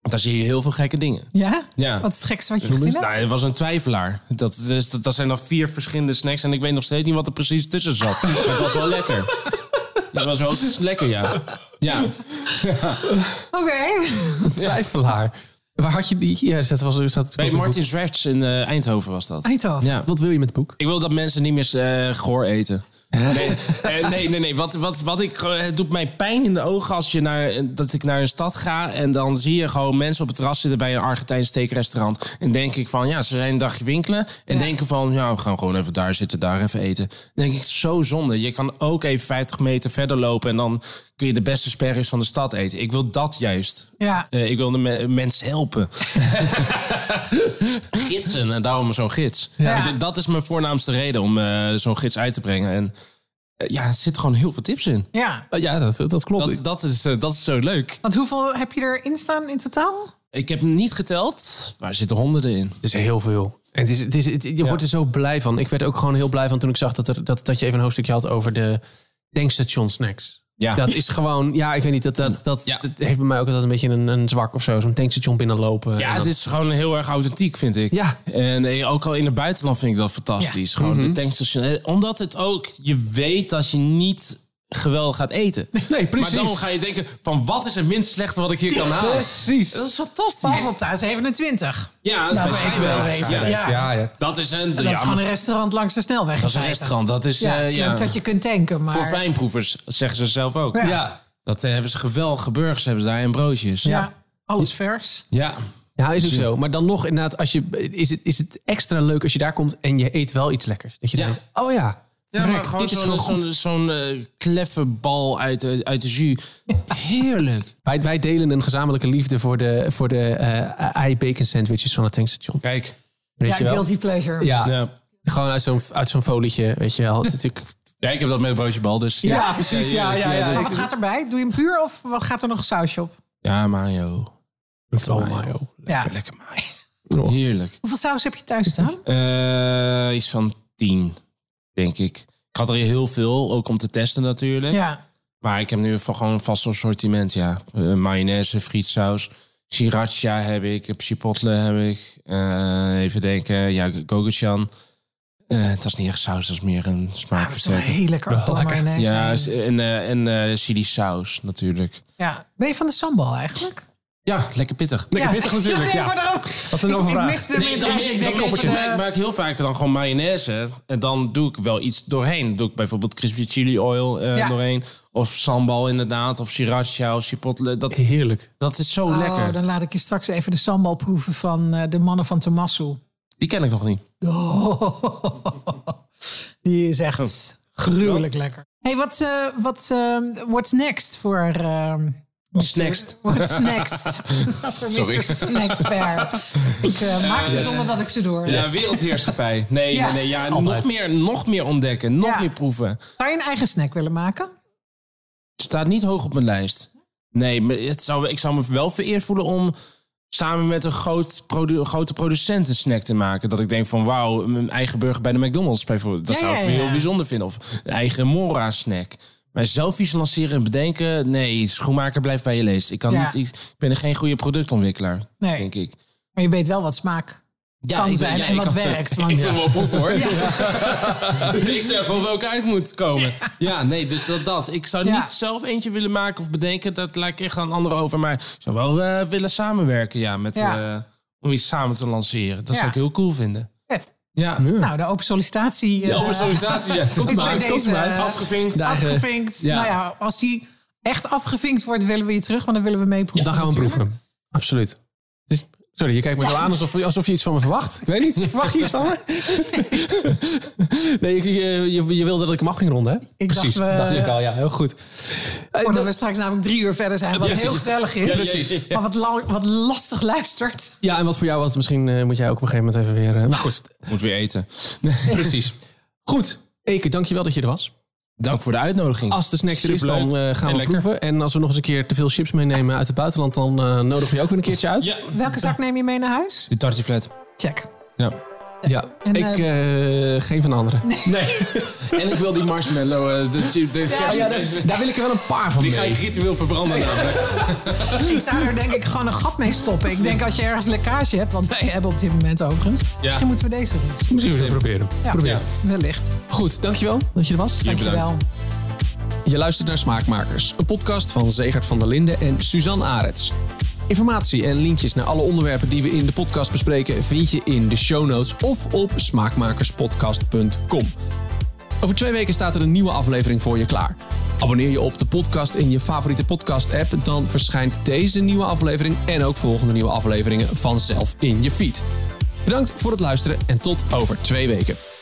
S3: Daar zie je heel veel gekke dingen.
S2: Ja?
S3: Mm. Ja.
S2: Wat is het gekste wat je
S3: Noem
S2: gezien
S3: eens.
S2: hebt?
S3: Nou, het was een twijfelaar. Dat, is, dat, dat zijn dan vier verschillende snacks. En ik weet nog steeds niet wat er precies tussen zat. Maar het was wel lekker. Het was wel lekker, ja. Ja,
S2: Oké.
S1: Twijfelaar. Waar had je die? Ja, dat was dus dat.
S3: bij Martin Zwerts in eh, Eindhoven was dat.
S2: Eindhoven.
S3: Ja.
S1: Wat wil je met het boek?
S3: Ik wil dat mensen niet meer eh, goor eten. Nee, eh, nee, nee. nee. Wat, wat, wat ik, gewoon- het doet mij pijn in de ogen als je naar, eh, dat ik naar een stad ga... en dan zie je gewoon mensen op het terras zitten bij een Argentijns steakrestaurant. En denk ik van, ja, ze zijn een dagje winkelen. En
S2: Ja.
S3: denken van, ja, we gaan gewoon even daar zitten, daar even eten. Dan denk ik, zo zonde. Je kan ook even 50 meter verder lopen... en dan kun je de beste sperries van de stad eten. Ik wil dat juist.
S2: Ja.
S3: Eh, ik wil de me- mensen helpen. Gidsen, en daarom zo'n gids.
S2: Ja.
S3: Ik- Dat is mijn voornaamste reden om eh, zo'n gids uit te brengen. En eh, ja, er zitten gewoon heel veel tips in.
S2: ja.
S1: Eh, ja, dat, dat klopt.
S3: Dat, dat, is, eh, dat is zo leuk.
S2: Want hoeveel heb je erin staan in totaal?
S3: Ik heb hem niet geteld, maar er zitten honderden in.
S1: Het is heel veel. En het is, het is, het- je wordt er zo blij van. Ik werd ook gewoon heel blij van toen ik zag dat, er, dat, dat je even een hoofdstukje had over de tankstation snacks.
S3: Ja.
S1: Dat is gewoon, ja, ik weet niet, dat, dat, dat,
S3: Ja.
S1: dat heeft bij mij ook altijd een beetje een, een zwak of zo. Zo'n tankstation binnenlopen.
S3: Ja, het is gewoon heel erg authentiek, vind ik.
S1: Ja.
S3: En eh, ook al in het buitenland vind ik dat fantastisch. Gewoon de tankstation. Eh, Omdat het ook, je weet dat je niet geweldig gaat eten.
S1: Nee,
S3: Maar
S1: precies.
S3: dan ga je denken van wat is het minst slechte wat ik hier kan halen?
S1: Precies.
S3: Dat is fantastisch.
S2: Pas op de 27
S3: Ja, dat
S2: Laten
S3: is
S2: we
S3: bij
S2: even Nou, wel
S3: Schijnwerk.
S2: wezen.
S3: Ja,
S2: Ja.
S3: Dat is een,
S2: Dat
S3: ja,
S2: is
S3: maar
S2: gewoon een restaurant langs de snelweg.
S3: dat is een restaurant. Dat is,
S2: Ja,
S3: eh,
S2: het is
S3: ja,
S2: leuk dat je kunt tanken, maar...
S3: voor fijnproevers, dat zeggen ze zelf ook.
S2: Ja.
S1: Ja.
S3: Dat eh, hebben ze geweldige burgers hebben ze daar en broodjes.
S2: ja. alles vers.
S3: ja.
S1: Ja, is ook zo. Maar dan nog inderdaad, als je, is, het, is het extra leuk als je daar komt en je eet wel iets lekkers. Dat je
S3: Ja.
S1: denkt, oh ja,
S3: Ja, maar
S1: rek,
S3: gewoon
S1: dit is
S3: zo'n
S1: gewoon goed.
S3: zo'n zo'n, eh, kleffe bal uit, de- uit de jus. Heerlijk.
S1: Wij, wij delen een gezamenlijke liefde voor de, voor de eh ei-bacon sandwiches van het tankstation.
S3: Kijk.
S1: Weet
S2: Ja,
S1: je wel?
S2: guilty pleasure.
S1: Ja,
S3: Ja.
S1: gewoon uit zo'n, uit zo'n folietje, weet je wel. Het is natuurlijk...
S3: Ja, ik heb dat met een broodje bal dus.
S2: Ja,
S1: precies. Ja, ja, ja.
S2: Maar wat gaat erbij? Doe je hem puur of wat gaat er nog sausje op?
S3: Ja, mayo.
S1: Oh, my, oh.
S2: Ja.
S3: Lekker mayo.
S1: Oh.
S3: Heerlijk.
S2: Hoeveel saus heb je thuis staan?
S3: Eh, iets van tien, denk ik. Ik had er heel veel, ook om te testen natuurlijk.
S2: Ja.
S3: Maar ik heb nu van gewoon een vast assortiment, ja. Eh, mayonaise, frietsaus, sriracha heb ik, heb chipotle heb ik. Eh, even denken, ja, gochujang. Eh dat is niet echt saus, dat is meer
S2: Ah,
S3: een
S2: Dat is wel
S3: smaakversterker.
S2: heel lekker. Toch
S1: lekker.
S2: mayonaise.
S3: Ja, s- en, eh en eh, chili saus natuurlijk.
S2: ja. Ben je van de sambal eigenlijk?
S3: Ja, lekker pittig.
S1: Lekker
S2: ja.
S1: pittig natuurlijk,
S2: nee,
S1: ja.
S2: maar daarom-
S1: is een
S2: Ik-
S1: overvraag.
S2: Ik miste
S3: Nee,
S2: hem
S3: dan,
S2: in. Ik
S3: dan
S2: denk
S3: maak,
S2: even eh,
S3: ik, maak-
S2: de-
S3: maak ik heel vaak dan gewoon mayonaise. En dan doe ik wel iets doorheen. Doe ik bijvoorbeeld crispy chili oil eh,
S2: Ja.
S3: doorheen. Of sambal inderdaad. Of sriracha of chipotle. Dat,
S1: Heerlijk.
S3: dat is zo
S2: Oh,
S3: lekker.
S2: dan laat ik je straks even de sambal proeven van eh, de mannen van Tomasso.
S3: Die ken ik nog niet.
S2: Oh. Die is
S3: Oh.
S2: echt gruwelijk lekker. hey, wat, eh, wat eh, what's next voor... ehm,
S3: What's next?
S2: What's next?
S3: Sorry.
S2: Sorry. Mr. Snackspair. Ik eh, maak ze zonder dat ik ze door.
S3: Ja, wereldheerschappij. Nee,
S2: Ja.
S3: nee, nee. Ja, nog,
S1: Altijd.
S3: meer, nog meer ontdekken. Nog
S2: Ja.
S3: meer proeven.
S2: Zou je een eigen snack willen maken?
S3: Staat niet hoog op mijn lijst. Nee, maar het zou, ik zou me wel vereerd voelen om samen met een groot produ- grote producent een snack te maken. Dat ik denk van wauw, mijn eigen burger bij de McDonald's bijvoorbeeld. Dat
S2: Ja,
S3: zou
S2: ja,
S3: ik me
S2: ja.
S3: heel bijzonder vinden. Of een eigen Mora snack. Maar zelf iets lanceren en bedenken. Nee, schoenmaker blijft bij je leest. Ik, kan
S2: Ja.
S3: niet, iets- ik ben geen goede productontwikkelaar,
S2: Nee.
S3: denk ik.
S2: Maar je weet wel wat smaak
S3: Ja,
S2: kan
S3: ik ben-
S2: zijn
S3: ja,
S2: en
S3: ik
S2: wat
S3: kan-
S2: werkt. Want,
S3: Ik wil wel proeven hoor. ik zeg gewoon welke uit moet komen. Ja, nee, dus dat dat. Ik zou
S2: Ja.
S3: niet zelf eentje willen maken of bedenken. Dat laat ik echt aan anderen over. Maar ik zou wel eh, willen samenwerken, ja. Met,
S2: Ja.
S3: eh, om iets samen te lanceren.
S2: Ja.
S3: Dat zou ik heel cool vinden.
S2: Vet.
S3: Ja.
S2: Nou, de open sollicitatie eh,
S3: Ja, op een sollicitatie. Ja. Komt
S2: is
S3: maar,
S2: bij
S3: komt
S2: deze,
S3: maar.
S2: eh,
S3: Afgevinkt.
S2: is afgevinkt.
S3: Ja.
S2: Nou ja, als die echt afgevinkt wordt, willen we je terug. Want dan willen we meeproeven.
S1: Dan gaan we hem
S2: natuurlijk.
S1: proeven. Absoluut. Het is- Sorry, je kijkt me zo aan alsof, alsof je iets van me verwacht. Ik weet niet, verwacht je iets van me? Nee, je, je, je wilde dat ik hem af ging ronden, hè?
S2: Ik dacht, eh,
S1: Precies,
S2: we-
S1: dacht ik al. Ja, heel goed. Eh,
S2: Voordat we straks namelijk drie uur verder zijn. Wat
S3: Ja,
S2: heel
S3: precies.
S2: gezellig
S3: Ja,
S2: is.
S3: precies. Ja.
S2: Maar wat, lang- wat lastig luistert.
S1: Ja, en wat voor jou was, misschien eh, moet jij ook op een gegeven moment even weer... eh, maar goed,
S3: Moet weer eten. Nee, precies.
S1: goed. Eke, dankjewel dat je er was.
S3: Dank voor de uitnodiging.
S1: Als de snack er is,
S3: Superleuk.
S1: dan eh,
S3: En
S1: gaan we
S3: lekker.
S1: proeven. En als we nog eens een keer te veel chips meenemen uit het buitenland... dan eh nodigen we je ook weer een keertje uit.
S3: Ja.
S2: Welke zak neem je mee naar huis?
S3: Die tartiflet.
S2: Check.
S3: Ja.
S1: Ja,
S2: En,
S1: ik eh, geen van de anderen.
S3: Nee. en ik wil die marshmallow. eh, de, de, de-
S1: Oh ja, daar, daar wil ik er wel een paar van
S3: die ga je
S1: mee.
S3: ritueel verbranden. namelijk.
S2: Ik zou er denk ik gewoon een gat mee stoppen. Ik denk als je ergens lekkage hebt, wat wij hebben op dit moment overigens. Misschien moeten we deze doen.
S1: Misschien moeten we het proberen.
S2: Ja,
S1: Probeer.
S2: wellicht.
S1: Goed, dankjewel dat je er was.
S2: Dankjewel.
S1: Je luistert naar Smaakmakers, een podcast van Zegert van der Linden en Suzanne Arets. Informatie en linkjes naar alle onderwerpen die we in de podcast bespreken vind je in de show notes of op smaakmakerspodcast.com. Over twee weken staat er een nieuwe aflevering voor je klaar. Abonneer je op de podcast in je favoriete podcast-app, dan verschijnt deze nieuwe aflevering en ook volgende nieuwe afleveringen vanzelf in je feed. Bedankt voor het luisteren en tot over twee weken.